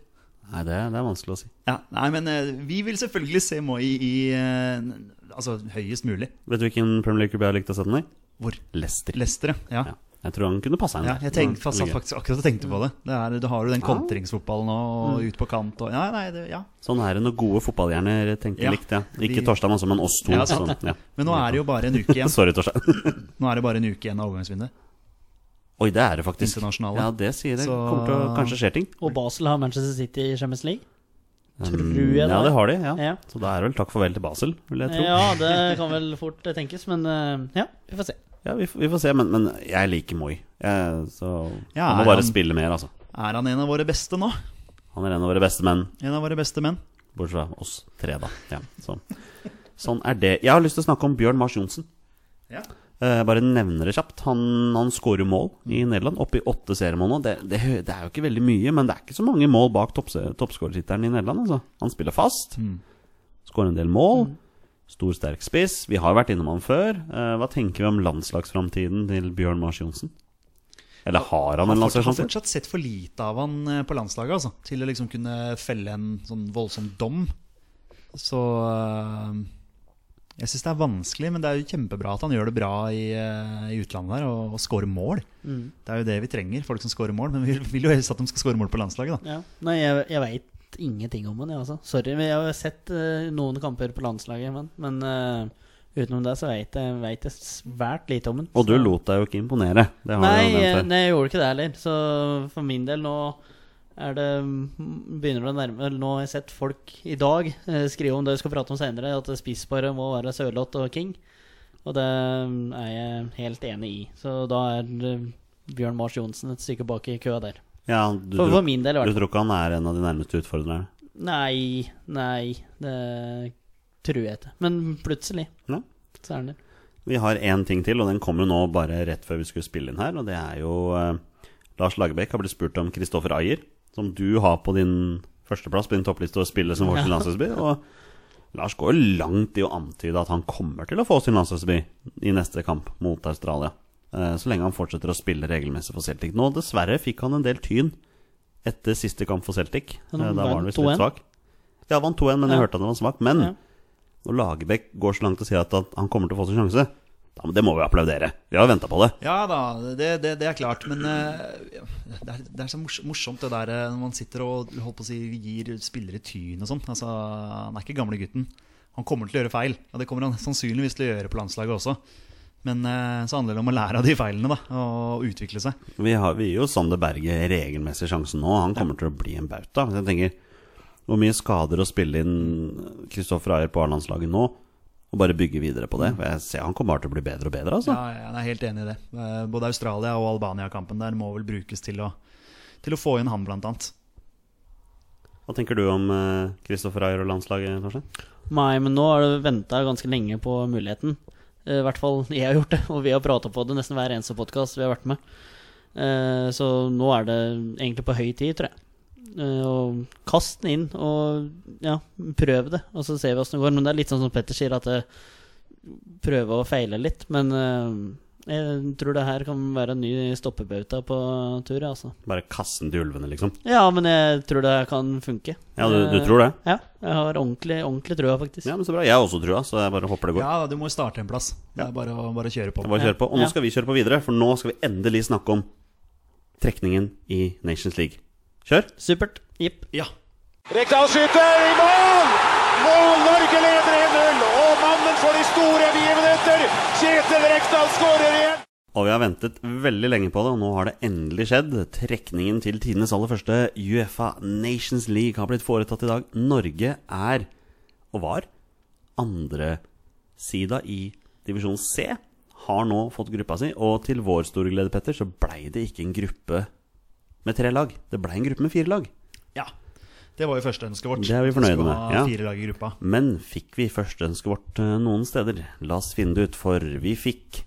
[SPEAKER 2] Nei, det, det er vanskelig å si.
[SPEAKER 3] Ja, nei, men eh, vi vil selvfølgelig se Moi i eh, Altså høyest mulig.
[SPEAKER 2] Vet du hvilken Premier League-klubb jeg har likt å sette den i?
[SPEAKER 3] Hvor?
[SPEAKER 2] Leicester.
[SPEAKER 3] Leicester, ja.
[SPEAKER 2] Ja. Jeg tror han kunne passa inn
[SPEAKER 3] Ja,
[SPEAKER 2] der.
[SPEAKER 3] jeg tenkte,
[SPEAKER 2] Det
[SPEAKER 3] satt
[SPEAKER 2] var gøy.
[SPEAKER 3] faktisk akkurat og tenkte på det. det er, du har jo den kontringsfotballen og ut på kant og Ja, nei, det, ja.
[SPEAKER 2] Sånn er det når gode fotballhjerner tenker
[SPEAKER 3] Ja.
[SPEAKER 2] likt. Ja. Ikke
[SPEAKER 3] Vi-
[SPEAKER 2] Torstein også, men oss to.
[SPEAKER 3] Ja,
[SPEAKER 2] sånn,
[SPEAKER 3] sant.
[SPEAKER 2] ja.
[SPEAKER 3] Men nå er det jo bare en uke igjen.
[SPEAKER 2] Sorry, Torstein.
[SPEAKER 3] Nå er det bare en uke igjen av overgangsvinduet.
[SPEAKER 2] Oi, det er det faktisk.
[SPEAKER 3] Internasjonale.
[SPEAKER 2] Ja, det sier det.
[SPEAKER 3] Så-
[SPEAKER 2] Kommer til å kanskje skjer ting.
[SPEAKER 4] Og Basel har Manchester City i Champions League. Tror jeg
[SPEAKER 2] Ja, det har de. Ja.
[SPEAKER 4] Ja.
[SPEAKER 2] Så da er det vel takk farvel til Basel, vil jeg tro.
[SPEAKER 4] Ja, det kan vel fort eh, tenkes, men eh, ja, vi får se.
[SPEAKER 2] Ja, vi, får- vi får se, men, men jeg liker Moi. Jeg, så
[SPEAKER 3] Ja,
[SPEAKER 2] han må
[SPEAKER 3] er
[SPEAKER 2] bare
[SPEAKER 3] han-
[SPEAKER 2] spille mer, altså.
[SPEAKER 3] Er han en av våre beste nå?
[SPEAKER 2] Han er en av våre beste menn,
[SPEAKER 3] En av våre beste menn?
[SPEAKER 2] bortsett fra oss tre, da. Ja, så. Sånn er det. Jeg har lyst til å snakke om Bjørn Mars Johnsen.
[SPEAKER 3] Ja.
[SPEAKER 2] Eh, bare nevner det kjapt. Han, han skårer jo mål i Nederland, oppe i åtte seriemål nå. Det, det, hø- det er jo ikke veldig mye, men det er ikke så mange mål bak toppse- toppskårertittelen i Nederland. Altså. Han spiller fast, skårer en del mål.
[SPEAKER 4] Mm.
[SPEAKER 2] Stor, sterk spiss. Vi har vært innom han før. Eh, hva tenker vi om landslagsframtiden til Bjørn Mars Johnsen? Eller har han
[SPEAKER 3] Han
[SPEAKER 2] en
[SPEAKER 3] har fortsatt,
[SPEAKER 2] landslagsframtid?
[SPEAKER 3] fortsatt sett for lite av han eh, på landslaget, altså. Til å liksom kunne felle en sånn voldsom dom. Så eh, Jeg syns det er vanskelig, men det er jo kjempebra at han gjør det bra i, eh, i utlandet der, og, og scorer mål. Det er jo det vi trenger, folk som scorer mål. Men vi vil jo helst at de skal score mål på landslaget, da.
[SPEAKER 4] Ja. Nei, jeg, jeg veit ingenting om han, jeg, altså. Sorry, men jeg har jo sett eh, noen kamper på landslaget, men, men eh, utenom det så veit jeg, vet jeg svært lite om han.
[SPEAKER 2] Og du
[SPEAKER 4] Så-
[SPEAKER 2] lot deg jo ikke imponere. Det har du jo
[SPEAKER 4] Nei, jeg,
[SPEAKER 2] nevnt før.
[SPEAKER 4] nei, jeg gjorde ikke det heller. Så for min del nå er det mm, Begynner det å nærme eller Nå har jeg sett folk i dag eh, skrive om det vi skal prate om senere, at spissparet må være Sørloth og King. Og det mm, er jeg helt enig i. Så da er eh, Bjørn Mars Johnsen et stykke bak i køa der.
[SPEAKER 2] Ja, du,
[SPEAKER 4] For, for
[SPEAKER 2] tror,
[SPEAKER 4] min del, i
[SPEAKER 2] du
[SPEAKER 4] hvert fall.
[SPEAKER 2] tror ikke han er en av de nærmeste utfordrerne?
[SPEAKER 4] Nei, nei, det tror jeg ikke. Men plutselig
[SPEAKER 2] Ja.
[SPEAKER 4] så er han der.
[SPEAKER 2] Vi har én ting til, og den kom jo nå bare rett før vi skulle spille inn her. Og det er jo eh, Lars Lagerbäck har blitt spurt om Kristoffer Ayer, som du har på din førsteplass på din toppliste å spille som vår sin landslagsby. Og Lars går jo langt i å antyde at han kommer til å få sin landslagsby i neste kamp mot Australia. eh, Så lenge han fortsetter å spille regelmessig for Celtic. Nå dessverre fikk han en del tyn etter siste kamp for Celtic. Eh,
[SPEAKER 4] Men
[SPEAKER 2] Da
[SPEAKER 4] han
[SPEAKER 2] var han
[SPEAKER 4] vant
[SPEAKER 2] visst litt
[SPEAKER 4] 2-1.
[SPEAKER 2] svak. Ja, vant 2-1, men jeg
[SPEAKER 4] Ja.
[SPEAKER 2] hørte at han var svak. Men
[SPEAKER 4] Ja.
[SPEAKER 2] når Lagerbäck går så langt og sier at at han kommer til å få sin sjanse, da, det må vi applaudere. Vi har venta på det.
[SPEAKER 3] Ja da, det, det, det er klart. Men eh, det, er, det er så mors- morsomt det der eh, når man sitter og holdt på å si, gir spillere tyn og sånn. Altså, han er ikke gamlegutten. Han kommer til å gjøre feil, og det kommer han sannsynligvis til å gjøre på landslaget også. Men eh, så handler det om å lære av de feilene da, og utvikle seg.
[SPEAKER 2] Vi, har, vi gir jo Sander Berge regelmessig sjansen nå. Han kommer til å bli en bauta. Så Jeg tenker, Hvor mye skader å spille inn Kristoffer Ayer på A-landslaget nå, og bare bygge videre på det? For jeg ser Han kommer bare til å bli bedre og bedre, altså.
[SPEAKER 3] Ja, ja, jeg er helt enig i det. Eh, Både Australia- og Albania-kampen der må vel brukes til å, til å få inn han, blant annet.
[SPEAKER 2] Hva tenker du om eh, Kristoffer Ayer og landslaget, Torstein?
[SPEAKER 4] Nei, men nå har du venta ganske lenge på muligheten. Eh, I hvert fall jeg har gjort det, og vi har prata på det nesten hver eneste podkast vi har vært med. Eh, Så nå er det egentlig på høy tid, tror jeg. Eh, Og kast den inn, og ja, prøv det, og så ser vi åssen det går. Men det er litt sånn som Petter sier, at eh, prøve og feile litt. Men eh, jeg tror det her kan være en ny stoppebauta på tur, jeg, altså.
[SPEAKER 2] Bare kassen til ulvene, liksom?
[SPEAKER 4] Ja, men jeg tror det her kan funke.
[SPEAKER 2] Ja, du,
[SPEAKER 4] Eh.
[SPEAKER 2] du tror det?
[SPEAKER 4] Ja, jeg har ordentlig, ordentlig trua, faktisk.
[SPEAKER 2] Ja, men så bra. Jeg har også trua, så jeg bare håper det går.
[SPEAKER 3] Ja, du må jo starte en plass. Det er bare å bare å kjøre på.
[SPEAKER 2] Det er bare å kjøre på. Og nå
[SPEAKER 4] Ja.
[SPEAKER 2] skal vi kjøre på videre, for nå skal vi endelig snakke om trekningen i Nations League. Kjør!
[SPEAKER 4] Supert. Jipp.
[SPEAKER 3] Ja,
[SPEAKER 1] Rekdal skyter i mål! Mål! Norge leder 1-0, og mannen for de store begivenheter, Kjetil Rekdal, skårer igjen!
[SPEAKER 2] Og vi har ventet veldig lenge på det, og nå har det endelig skjedd. Trekningen til tidenes aller første Uefa Nations League har blitt foretatt i dag. Norge er, og var, andre sida i divisjon C. Har nå fått gruppa si, og til vår store glede, Petter, så blei det ikke en gruppe med tre lag. Det blei en gruppe med fire lag.
[SPEAKER 3] ja. Det var jo førsteønsket vårt.
[SPEAKER 2] Det er vi
[SPEAKER 3] At skal
[SPEAKER 2] fornøyde med,
[SPEAKER 3] ha
[SPEAKER 2] ja.
[SPEAKER 3] Fire lag i gruppa.
[SPEAKER 2] Men fikk vi førsteønsket vårt eh, noen steder? La oss finne det ut, for vi fikk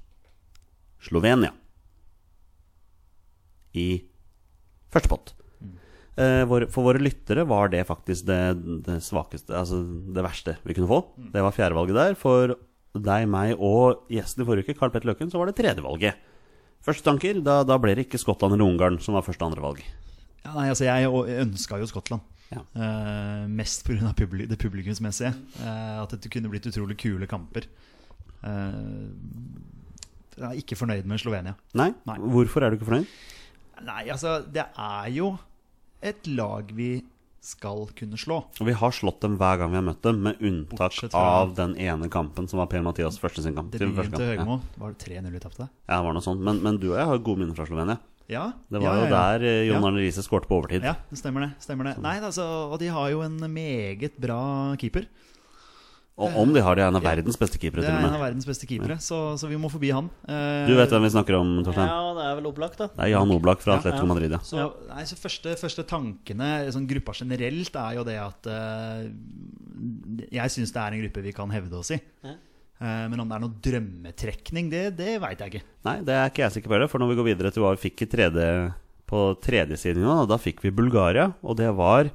[SPEAKER 2] Slovenia i første pott. Eh, vår- For våre lyttere var det faktisk det, det svakeste, altså det verste vi kunne få. Det var fjerdevalget der. For deg, meg og gjesten i forrige uke, Carl Petter Løken, så var det tredjevalget. Første tanker, da, da ble det ikke Skottland eller Ungarn som var første og andre valg.
[SPEAKER 3] Ja, nei, altså, jeg ønska jo Skottland.
[SPEAKER 2] Ja.
[SPEAKER 3] Eh, mest pga. Publi det publikumsmessige. Eh, at det kunne blitt utrolig kule kamper. Eh, jeg er ikke fornøyd med Slovenia.
[SPEAKER 2] Nei?
[SPEAKER 3] Nei.
[SPEAKER 2] Hvorfor er du ikke fornøyd?
[SPEAKER 3] Nei, altså, det er jo et lag vi skal kunne slå.
[SPEAKER 2] Og vi har slått dem hver gang vi har møtt dem, med unntak
[SPEAKER 3] Bortsett fra-
[SPEAKER 2] av den ene kampen som var Per-Mathias første sin kamp. sin
[SPEAKER 3] Debuten
[SPEAKER 2] første
[SPEAKER 3] til
[SPEAKER 2] kamp.
[SPEAKER 3] Høgmo, var det 3-0 vi tapte?
[SPEAKER 2] Ja. ja, det var noe sånt. Men, men du og jeg har gode minner fra Slovenia.
[SPEAKER 3] Ja.
[SPEAKER 2] Det var
[SPEAKER 3] ja,
[SPEAKER 2] jo
[SPEAKER 3] ja, ja.
[SPEAKER 2] der Sånn. eh,
[SPEAKER 3] Ja.
[SPEAKER 2] Jon Arne Riise skårte på overtid.
[SPEAKER 3] Ja, det stemmer det. stemmer det Nei, altså, Og de har jo en meget bra keeper.
[SPEAKER 2] Og om de har det, er en av verdens beste keepere,
[SPEAKER 3] Det er en
[SPEAKER 2] til
[SPEAKER 3] av
[SPEAKER 2] og med.
[SPEAKER 3] verdens beste keepere, så, så vi må forbi han. Eh,
[SPEAKER 2] Du vet hvem vi snakker om, Torstein?
[SPEAKER 4] Ja, det er vel opplagt, da.
[SPEAKER 2] Det er Jan Oblak fra Atletico
[SPEAKER 4] ja.
[SPEAKER 2] Madrid, ja.
[SPEAKER 4] Så,
[SPEAKER 3] ja, nei, så første, første tankene, sånn gruppa generelt, er jo det at eh, Jeg syns det er en gruppe vi kan hevde oss i. Eh, men om det er noe drømmetrekning, det, det veit jeg ikke.
[SPEAKER 2] Nei, det er ikke jeg sikker på heller, for når vi går videre til hva vi fikk i tredje, på tredjesiden nå, da fikk vi Bulgaria, og det var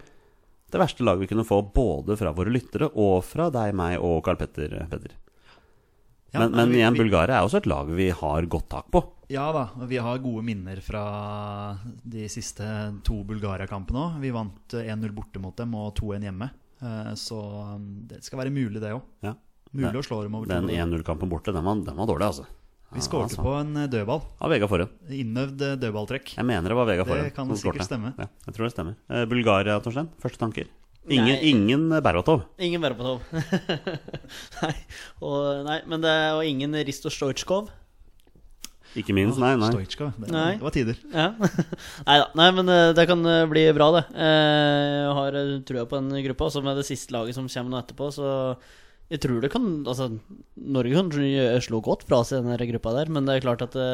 [SPEAKER 2] det verste laget vi kunne få både fra våre lyttere og fra deg, meg og Carl Petter. eh, Petter.
[SPEAKER 3] Ja,
[SPEAKER 2] men
[SPEAKER 3] nei,
[SPEAKER 2] men
[SPEAKER 3] vi-
[SPEAKER 2] igjen,
[SPEAKER 3] vi-
[SPEAKER 2] Bulgaria er også et lag vi har godt tak på.
[SPEAKER 3] Ja da, og vi har gode minner fra de siste to Bulgaria-kampene òg. Vi vant eh, 1-0 borte mot dem og 2-1 hjemme. Eh, Så um, det skal være mulig, det òg.
[SPEAKER 2] Ja.
[SPEAKER 3] Mulig
[SPEAKER 2] Nei,
[SPEAKER 3] å slå dem over
[SPEAKER 2] Den
[SPEAKER 3] to.
[SPEAKER 2] 1-0-kampen borte, den var, den var dårlig, altså.
[SPEAKER 3] Vi skårte
[SPEAKER 2] altså.
[SPEAKER 3] på en eh, dødball.
[SPEAKER 2] Av Vega Forhen.
[SPEAKER 3] Innøvd eh, dødballtrekk.
[SPEAKER 2] Jeg mener det var Vega
[SPEAKER 3] Det
[SPEAKER 2] Forhen.
[SPEAKER 3] kan
[SPEAKER 2] som
[SPEAKER 3] sikkert
[SPEAKER 2] skårte.
[SPEAKER 3] stemme.
[SPEAKER 2] Ja, jeg tror det stemmer. Eh, Bulgaria, Torstein. Første tanker? Ingen,
[SPEAKER 4] Nei.
[SPEAKER 2] ingen Berbatov.
[SPEAKER 4] Ingen Berbatov. nei, og, nei, men det er og ingen Risto Stojkov.
[SPEAKER 2] Ikke minst, nei. nei.
[SPEAKER 3] Stoichkov, det,
[SPEAKER 4] Nei.
[SPEAKER 3] det var tider.
[SPEAKER 4] Ja. nei da. Nei, men eh, det kan eh, bli bra, det. Eh, Jeg har eh, trua på en gruppe. Og så med det siste laget som kommer nå etterpå, så jeg tror det kan Altså, Norge kan gjø- slå godt fra seg i den der gruppa der, men det er klart at det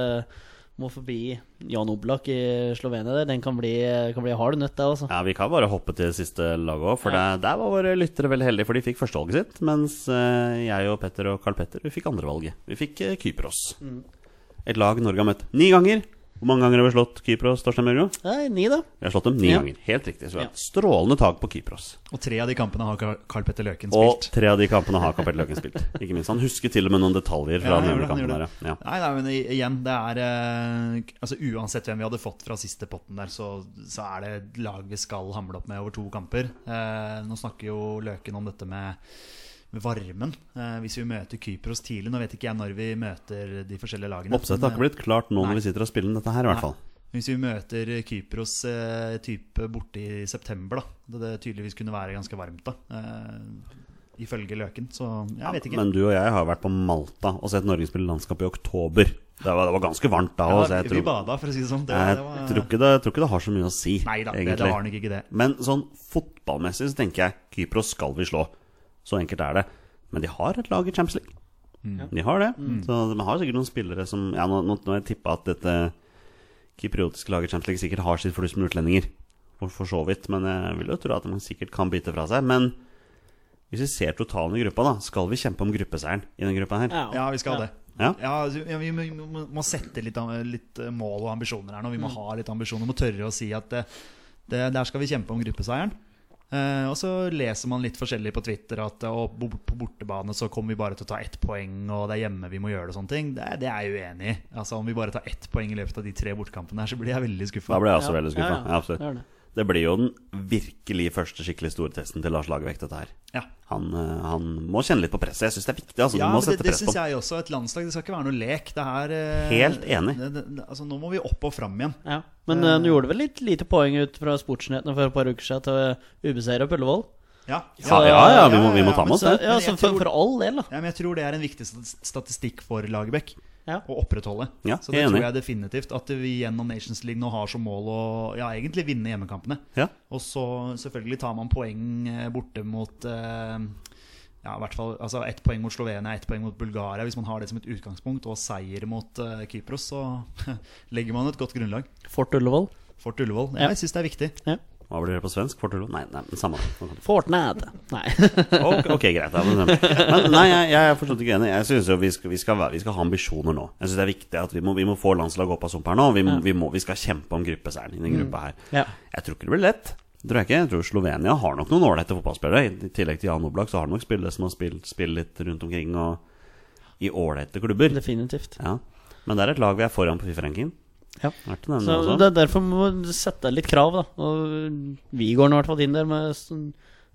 [SPEAKER 4] må forbi Jan Oblak i Slovenia der. Den kan bli, eh, kan bli hard nøtt, det, altså.
[SPEAKER 2] Ja, Vi kan bare hoppe til siste lag òg, for der, der var våre lyttere veldig heldige, for de fikk førstevalget sitt. Mens eh, jeg og Petter og Carl Petter vi fikk andrevalget. Vi fikk eh, Kypros.
[SPEAKER 3] Mm.
[SPEAKER 2] Et lag Norge har møtt ni ganger. Hvor mange ganger har vi slått Kypros? Torstein Mørgo?
[SPEAKER 4] Nei, ni, da.
[SPEAKER 2] Vi har slått dem ni
[SPEAKER 4] Ja.
[SPEAKER 2] ganger. Helt riktig. Så vi har
[SPEAKER 4] Ja.
[SPEAKER 2] et strålende tak på Kypros.
[SPEAKER 3] Og tre av de kampene har Karl- Karl Petter Løken
[SPEAKER 2] Og
[SPEAKER 3] spilt.
[SPEAKER 2] tre av de kampene har Kapell Løken spilt. Ikke minst. Han husker til og med noen detaljer fra
[SPEAKER 3] Ja, han
[SPEAKER 2] den
[SPEAKER 3] gjorde det,
[SPEAKER 2] ene
[SPEAKER 3] han
[SPEAKER 2] kampen.
[SPEAKER 3] gjorde
[SPEAKER 2] Der, ja. Ja.
[SPEAKER 3] Nei, nei, men i- igjen, det er eh, k- Altså Uansett hvem vi hadde fått fra siste potten der, så, så er det et lag vi skal hamle opp med over to kamper. Eh, nå snakker jo Løken om dette med, med varmen. Eh, hvis vi møter Kypros tidlig Nå vet ikke jeg når vi møter de forskjellige lagene.
[SPEAKER 2] Oppsettet har ikke blitt klart nå når vi sitter og spiller inn dette her, i hvert
[SPEAKER 3] Nei.
[SPEAKER 2] fall.
[SPEAKER 3] Hvis vi møter Kypros eh, type borte i september, da det, det tydeligvis kunne være ganske varmt, da eh, ifølge Løken. Så jeg vet ikke.
[SPEAKER 2] Men du og jeg har vært på Malta og sett Norge spille landskamp i oktober. Det var, det var ganske varmt da òg, så
[SPEAKER 3] Ja,
[SPEAKER 2] jeg
[SPEAKER 3] vi
[SPEAKER 2] tror,
[SPEAKER 3] bada, for å si det sånn. Det,
[SPEAKER 2] jeg,
[SPEAKER 3] det var,
[SPEAKER 2] tror, ikke det, jeg tror ikke det har så mye å si,
[SPEAKER 3] nei da, det, det har nok ikke det.
[SPEAKER 2] Men sånn fotballmessig så tenker jeg Kypros skal vi slå. Så enkelt er det. Men de har et lag i Champions League. De har det. Så de har sikkert noen spillere som ja, Nå, nå, nå har jeg tippa at dette kypriotiske laget i Champions League sikkert har sitt flust med utlendinger. For, for så vidt. Men jeg vil jo tro at de sikkert kan bytte fra seg. Men hvis vi ser totalen i gruppa, da, skal vi kjempe om gruppeseieren i den gruppa her.
[SPEAKER 3] Ja, vi skal det.
[SPEAKER 2] Ja.
[SPEAKER 3] Ja, altså, ja, vi må, må- må sette litt, an- litt eh, mål og ambisjoner her nå. Vi må ha litt ambisjoner. Vi må tørre å si at eh, det, der skal vi kjempe om gruppeseieren. Eh, og så leser man litt forskjellig på Twitter at eh, å, bo- på bortebane så kommer vi bare til å ta ett poeng, og det er hjemme vi må gjøre det og sånne ting. Det, det er jeg uenig i. Altså, om vi bare tar ett poeng i løpet av de tre bortekampene her, så blir jeg veldig skuffa.
[SPEAKER 2] Da ble jeg også veldig skuffa.
[SPEAKER 4] Ja, ja.
[SPEAKER 2] absolutt.
[SPEAKER 4] Det er det.
[SPEAKER 2] Det blir jo den virkelig første skikkelig store testen til Lars Lagerbäck, dette her.
[SPEAKER 3] Ja.
[SPEAKER 2] Han, eh, han må kjenne litt på presset. Jeg syns det er viktig. Altså,
[SPEAKER 3] Ja,
[SPEAKER 2] du må
[SPEAKER 3] men det,
[SPEAKER 2] sette
[SPEAKER 3] det
[SPEAKER 2] press på
[SPEAKER 3] syns jeg også. Et landslag det skal ikke være noe lek. Det er eh,
[SPEAKER 2] Helt enig.
[SPEAKER 3] Det, det, det, altså, nå må vi opp og fram igjen.
[SPEAKER 4] Ja, Men eh, du gjorde vel litt lite poeng ut fra sportsnyhetene for et par uker siden til eh, ubeseira Ullevål?
[SPEAKER 3] Ja,
[SPEAKER 2] Ja, ja, ja, vi må, vi må ta
[SPEAKER 3] men
[SPEAKER 2] med oss
[SPEAKER 4] Så,
[SPEAKER 2] det.
[SPEAKER 4] ja,
[SPEAKER 3] Men
[SPEAKER 4] så
[SPEAKER 3] jeg
[SPEAKER 4] for,
[SPEAKER 3] tror-
[SPEAKER 4] for all del, da.
[SPEAKER 3] Ja, men jeg tror det er en viktig stat- statistikk for Lagerbäck
[SPEAKER 4] Ja.
[SPEAKER 3] å opprettholde.
[SPEAKER 2] Ja,
[SPEAKER 3] så
[SPEAKER 2] jeg
[SPEAKER 3] det
[SPEAKER 2] er enig.
[SPEAKER 3] tror jeg definitivt. At vi gjennom Nations League nå har som mål å ja, egentlig vinne hjemmekampene.
[SPEAKER 2] Ja.
[SPEAKER 3] Og så selvfølgelig tar man poeng eh, borte mot eh, ja, i hvert fall altså ett poeng mot Slovenia, ett poeng mot Bulgaria. Hvis man har det som et utgangspunkt, og seier mot eh, Kypros, så legger man et godt grunnlag.
[SPEAKER 4] Fort Ullevål.
[SPEAKER 3] Fort Ullevål.
[SPEAKER 4] Ja.
[SPEAKER 3] Jeg syns det er viktig.
[SPEAKER 2] Hva blir det på svensk? Fortulo? Nei, nei, men samme det.
[SPEAKER 4] Fortnad. Nei.
[SPEAKER 2] Ok, ok, greit. da. Men, men nei, jeg, jeg er fortsatt ikke enig. Jeg synes jo vi skal, vi, skal, være- vi skal ha ambisjoner nå. Jeg syns det er viktig at vi må, vi må få landslaget opp av sumpa her nå. Vi, må, vi, må, vi skal kjempe om gruppeseieren i den gruppa her.
[SPEAKER 4] Ja.
[SPEAKER 2] Jeg tror ikke det blir lett. Det tror jeg ikke. Jeg tror Slovenia har nok noen ålreite fotballspillere. I tillegg til Jan Oblak så har de nok spillere som har spilt, spilt litt rundt omkring og i ålreite klubber.
[SPEAKER 4] Definitivt.
[SPEAKER 2] Ja. Men det er et lag vi er foran på Fifa-ranking.
[SPEAKER 4] Ja.
[SPEAKER 2] Verdt å nevne
[SPEAKER 4] Så
[SPEAKER 2] også.
[SPEAKER 4] det er derfor må du sette litt krav, da. Og Vigården i hvert fall inn der med sånn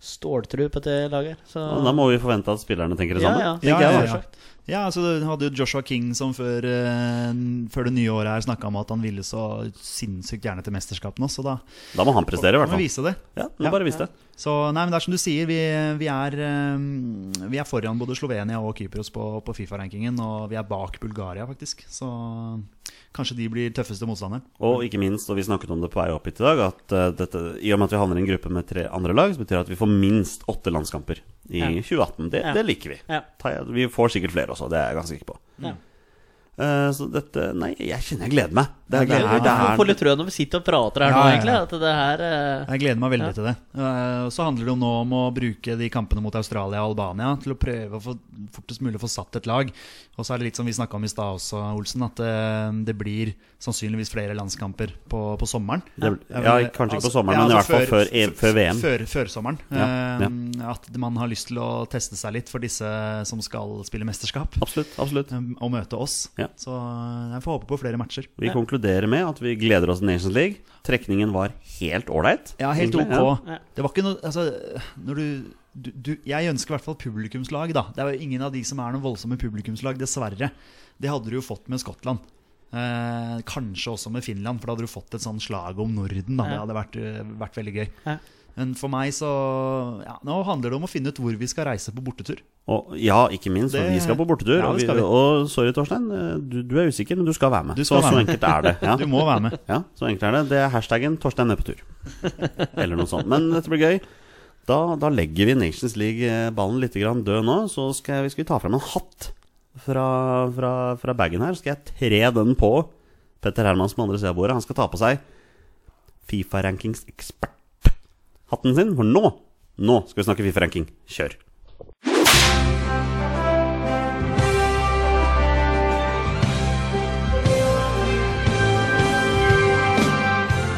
[SPEAKER 4] ståltrup etter laget. her. Så
[SPEAKER 2] Og Da må vi forvente at spillerne tenker det
[SPEAKER 4] ja,
[SPEAKER 2] samme.
[SPEAKER 4] ja.
[SPEAKER 3] Ja,
[SPEAKER 4] tenker jeg,
[SPEAKER 3] ja,
[SPEAKER 4] da.
[SPEAKER 3] ja. Ja, altså Du hadde jo Joshua King som før, eh, før det nye året her snakka om at han ville så sinnssykt gjerne til mesterskapene. Så da
[SPEAKER 2] Da må han prestere, i hvert
[SPEAKER 3] må vi vise
[SPEAKER 2] fall.
[SPEAKER 3] det.
[SPEAKER 2] Ja, må
[SPEAKER 3] Ja.
[SPEAKER 2] bare vise det.
[SPEAKER 3] Så nei, men det er som du sier, vi, vi, er, eh, vi er foran både Slovenia og Kypros på, på Fifa-rankingen. Og vi er bak Bulgaria, faktisk. Så kanskje de blir tøffeste motstanderen.
[SPEAKER 2] Og ikke minst, og vi snakket om det på vei opp hit i dag, at eh, dette, i og med at vi havner i en gruppe med tre andre lag, så betyr det at vi får minst åtte landskamper i
[SPEAKER 4] Ja.
[SPEAKER 2] 2018. Det,
[SPEAKER 4] Ja.
[SPEAKER 2] det liker vi.
[SPEAKER 4] Ja.
[SPEAKER 2] Ta- Vi får sikkert flere også, det er jeg ganske sikker på.
[SPEAKER 4] Ja.
[SPEAKER 2] Eh, så dette Nei, jeg kjenner jeg gleder meg. Det,
[SPEAKER 3] Jeg
[SPEAKER 2] det
[SPEAKER 3] gleder
[SPEAKER 2] er,
[SPEAKER 3] meg.
[SPEAKER 2] det
[SPEAKER 4] Man får
[SPEAKER 2] er,
[SPEAKER 4] litt trøen når vi sitter og prater her
[SPEAKER 3] Ja,
[SPEAKER 4] nå,
[SPEAKER 3] ja,
[SPEAKER 4] egentlig.
[SPEAKER 3] ja.
[SPEAKER 4] At det her eh,
[SPEAKER 3] Jeg gleder meg veldig
[SPEAKER 4] Ja.
[SPEAKER 3] til det. Eh, Så handler det jo nå om å bruke de kampene mot Australia og Albania til å prøve å få, fortest mulig å få satt et lag. Og så er det litt som vi snakka om i stad også, Olsen, at eh, det blir sannsynligvis flere landskamper på, på sommeren. Eh, altså,
[SPEAKER 2] det, ja, kanskje ikke på sommeren, men i hvert fall før, e- før VM.
[SPEAKER 3] Før, førsommeren.
[SPEAKER 2] Ja, ja.
[SPEAKER 3] Eh, at man har lyst til å teste seg litt for disse som skal spille mesterskap,
[SPEAKER 2] Absolutt. absolutt
[SPEAKER 3] um, og møte oss.
[SPEAKER 2] Ja.
[SPEAKER 3] Så eh, jeg får håpe på flere matcher.
[SPEAKER 2] Vi konkluderer med at vi gleder oss til Nations League. Trekningen var helt ålreit.
[SPEAKER 3] Ja, helt
[SPEAKER 2] egentlig. Ja.
[SPEAKER 3] ok.
[SPEAKER 4] Ja.
[SPEAKER 3] Det var ikke noe Altså, når du, du, du Jeg ønsker i hvert fall publikumslag, da. Det er jo ingen av de som er noen voldsomme publikumslag, dessverre. Det hadde du jo fått med Skottland. Eh, kanskje også med Finland, for da hadde du fått et sånn slag om Norden. Da. Det
[SPEAKER 4] Ja.
[SPEAKER 3] hadde vært, eh, vært veldig gøy.
[SPEAKER 4] Ja.
[SPEAKER 3] Men for meg så ja, Nå handler det om å finne ut hvor vi skal reise på bortetur.
[SPEAKER 2] Og ja, ikke minst, for
[SPEAKER 3] Det-
[SPEAKER 2] vi skal på bortetur.
[SPEAKER 3] Ja, det
[SPEAKER 2] og, vi,
[SPEAKER 3] skal vi.
[SPEAKER 2] og sorry, Torstein, eh, du, du er usikker, men du skal være med.
[SPEAKER 3] Du skal
[SPEAKER 2] så,
[SPEAKER 3] være
[SPEAKER 2] så
[SPEAKER 3] med.
[SPEAKER 2] enkelt er det. Ja.
[SPEAKER 3] Du må være med.
[SPEAKER 2] ja, så enkelt er det. Det er hashtaggen 'Torstein ned på tur'. Eller noe sånt. Men dette blir gøy. Da, da legger vi Nations League-ballen litt grann død nå. Så skal, vi skal vi ta fram en hatt fra, fra, fra bagen her. Skal jeg tre den på Petter Hermansen på andre sida av bordet. Han skal ta på seg Fifa-rankings-ekspert-hatten sin. For nå, nå skal vi snakke Fifa-ranking. Kjør.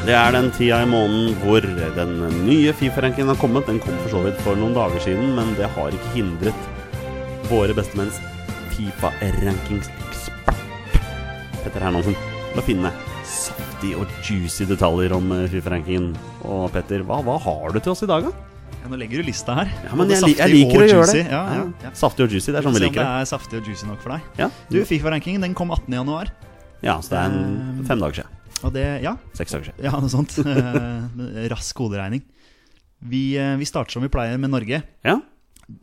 [SPEAKER 2] Det er den tida i måneden hvor den nye Fifa-rankingen har kommet. Den kom for så vidt for noen dager siden, men det har ikke hindret våre bestemenns Fifa-rankingsekspert Petter Hermansen til å finne saftige og juicy detaljer om eh, Fifa-rankingen. Og Petter, hva, hva har du til oss i dag, da?
[SPEAKER 3] Ja, nå legger du lista her.
[SPEAKER 2] Ja, men
[SPEAKER 3] Både
[SPEAKER 2] jeg, li- jeg
[SPEAKER 3] saftig
[SPEAKER 2] liker
[SPEAKER 3] og
[SPEAKER 2] å gjøre
[SPEAKER 3] juicy.
[SPEAKER 2] det.
[SPEAKER 3] Ja, ja, ja.
[SPEAKER 2] Saftig og juicy, det er sånn vi
[SPEAKER 3] Se om
[SPEAKER 2] liker
[SPEAKER 3] det
[SPEAKER 2] det.
[SPEAKER 3] er saftig og juicy nok for deg.
[SPEAKER 2] Ja,
[SPEAKER 3] Du, Fifa-rankingen den kom 18.1.
[SPEAKER 2] ja så det er en, fem dager siden.
[SPEAKER 3] Og det, ja,
[SPEAKER 2] Seks dager siden.
[SPEAKER 3] Ja, noe sånt. Eh, rask hoderegning. Vi, eh, vi starter som vi pleier med Norge.
[SPEAKER 2] Ja.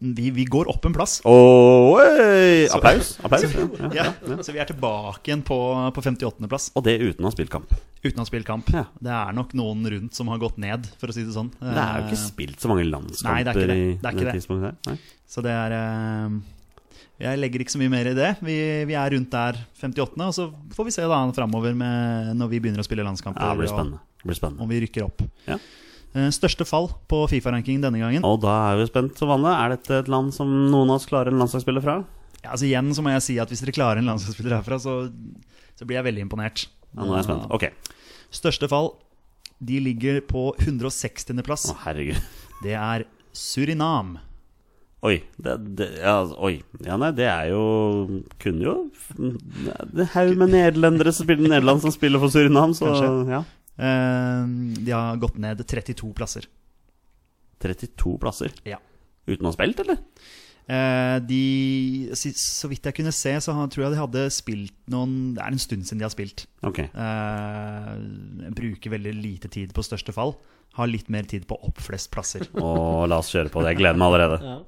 [SPEAKER 3] Vi, vi går opp en plass.
[SPEAKER 2] Oi! Applaus. applaus. Ja, ja.
[SPEAKER 3] Ja, Så vi er tilbake igjen på, på 58.-plass,
[SPEAKER 2] Og det uten å ha spilt kamp.
[SPEAKER 3] uten å ha spilt kamp.
[SPEAKER 2] Ja.
[SPEAKER 3] Det er nok noen rundt som har gått ned, for å si det sånn.
[SPEAKER 2] Men Det er jo ikke
[SPEAKER 3] Eh,
[SPEAKER 2] spilt så mange
[SPEAKER 3] Nei, det er ikke
[SPEAKER 2] landskamper
[SPEAKER 3] det.
[SPEAKER 2] i
[SPEAKER 3] Det er ikke det.
[SPEAKER 2] tidspunktet her. Nei.
[SPEAKER 3] Så det er eh, Jeg legger ikke så mye mer i det. Vi, vi er rundt der 58., og så får vi se da framover med- når vi begynner å spille landskamper.
[SPEAKER 2] Ja, det blir
[SPEAKER 3] og-
[SPEAKER 2] spennende. Det blir spennende.
[SPEAKER 3] Om vi rykker opp.
[SPEAKER 2] Ja.
[SPEAKER 3] Eh, Største fall på Fifa-rankingen denne gangen.
[SPEAKER 2] Og da er vi spent som vanlig. Er dette et land som noen av oss klarer en landslagsspiller fra?
[SPEAKER 3] Ja, altså igjen så må jeg si at Hvis dere klarer en landslagsspiller herfra, så, så blir jeg veldig imponert.
[SPEAKER 2] Ja, nå er jeg spent.
[SPEAKER 3] Mm.
[SPEAKER 2] Ok.
[SPEAKER 3] Største fall de ligger på 160. plass.
[SPEAKER 2] Å, herregud.
[SPEAKER 3] Det er Surinam.
[SPEAKER 2] Oi. Det, det, ja, altså, oi. Ja, nei, det er jo Kunne jo Det er en haug med nederlendere som spiller Nederland som spiller for Surinam, så
[SPEAKER 3] Kanskje.
[SPEAKER 2] ja.
[SPEAKER 3] Eh, de har gått ned 32 plasser.
[SPEAKER 2] 32 plasser.
[SPEAKER 3] Ja.
[SPEAKER 2] Uten å ha spilt, eller?
[SPEAKER 3] Eh, de, si- så vidt jeg kunne se, så har- tror jeg de hadde spilt noen Det er en stund siden de har spilt.
[SPEAKER 2] Ok.
[SPEAKER 3] Eh, bruker veldig lite tid på største fall. Har litt mer tid på opp flest plasser.
[SPEAKER 2] Og la oss kjøre på det. Jeg gleder meg allerede.
[SPEAKER 4] Ja.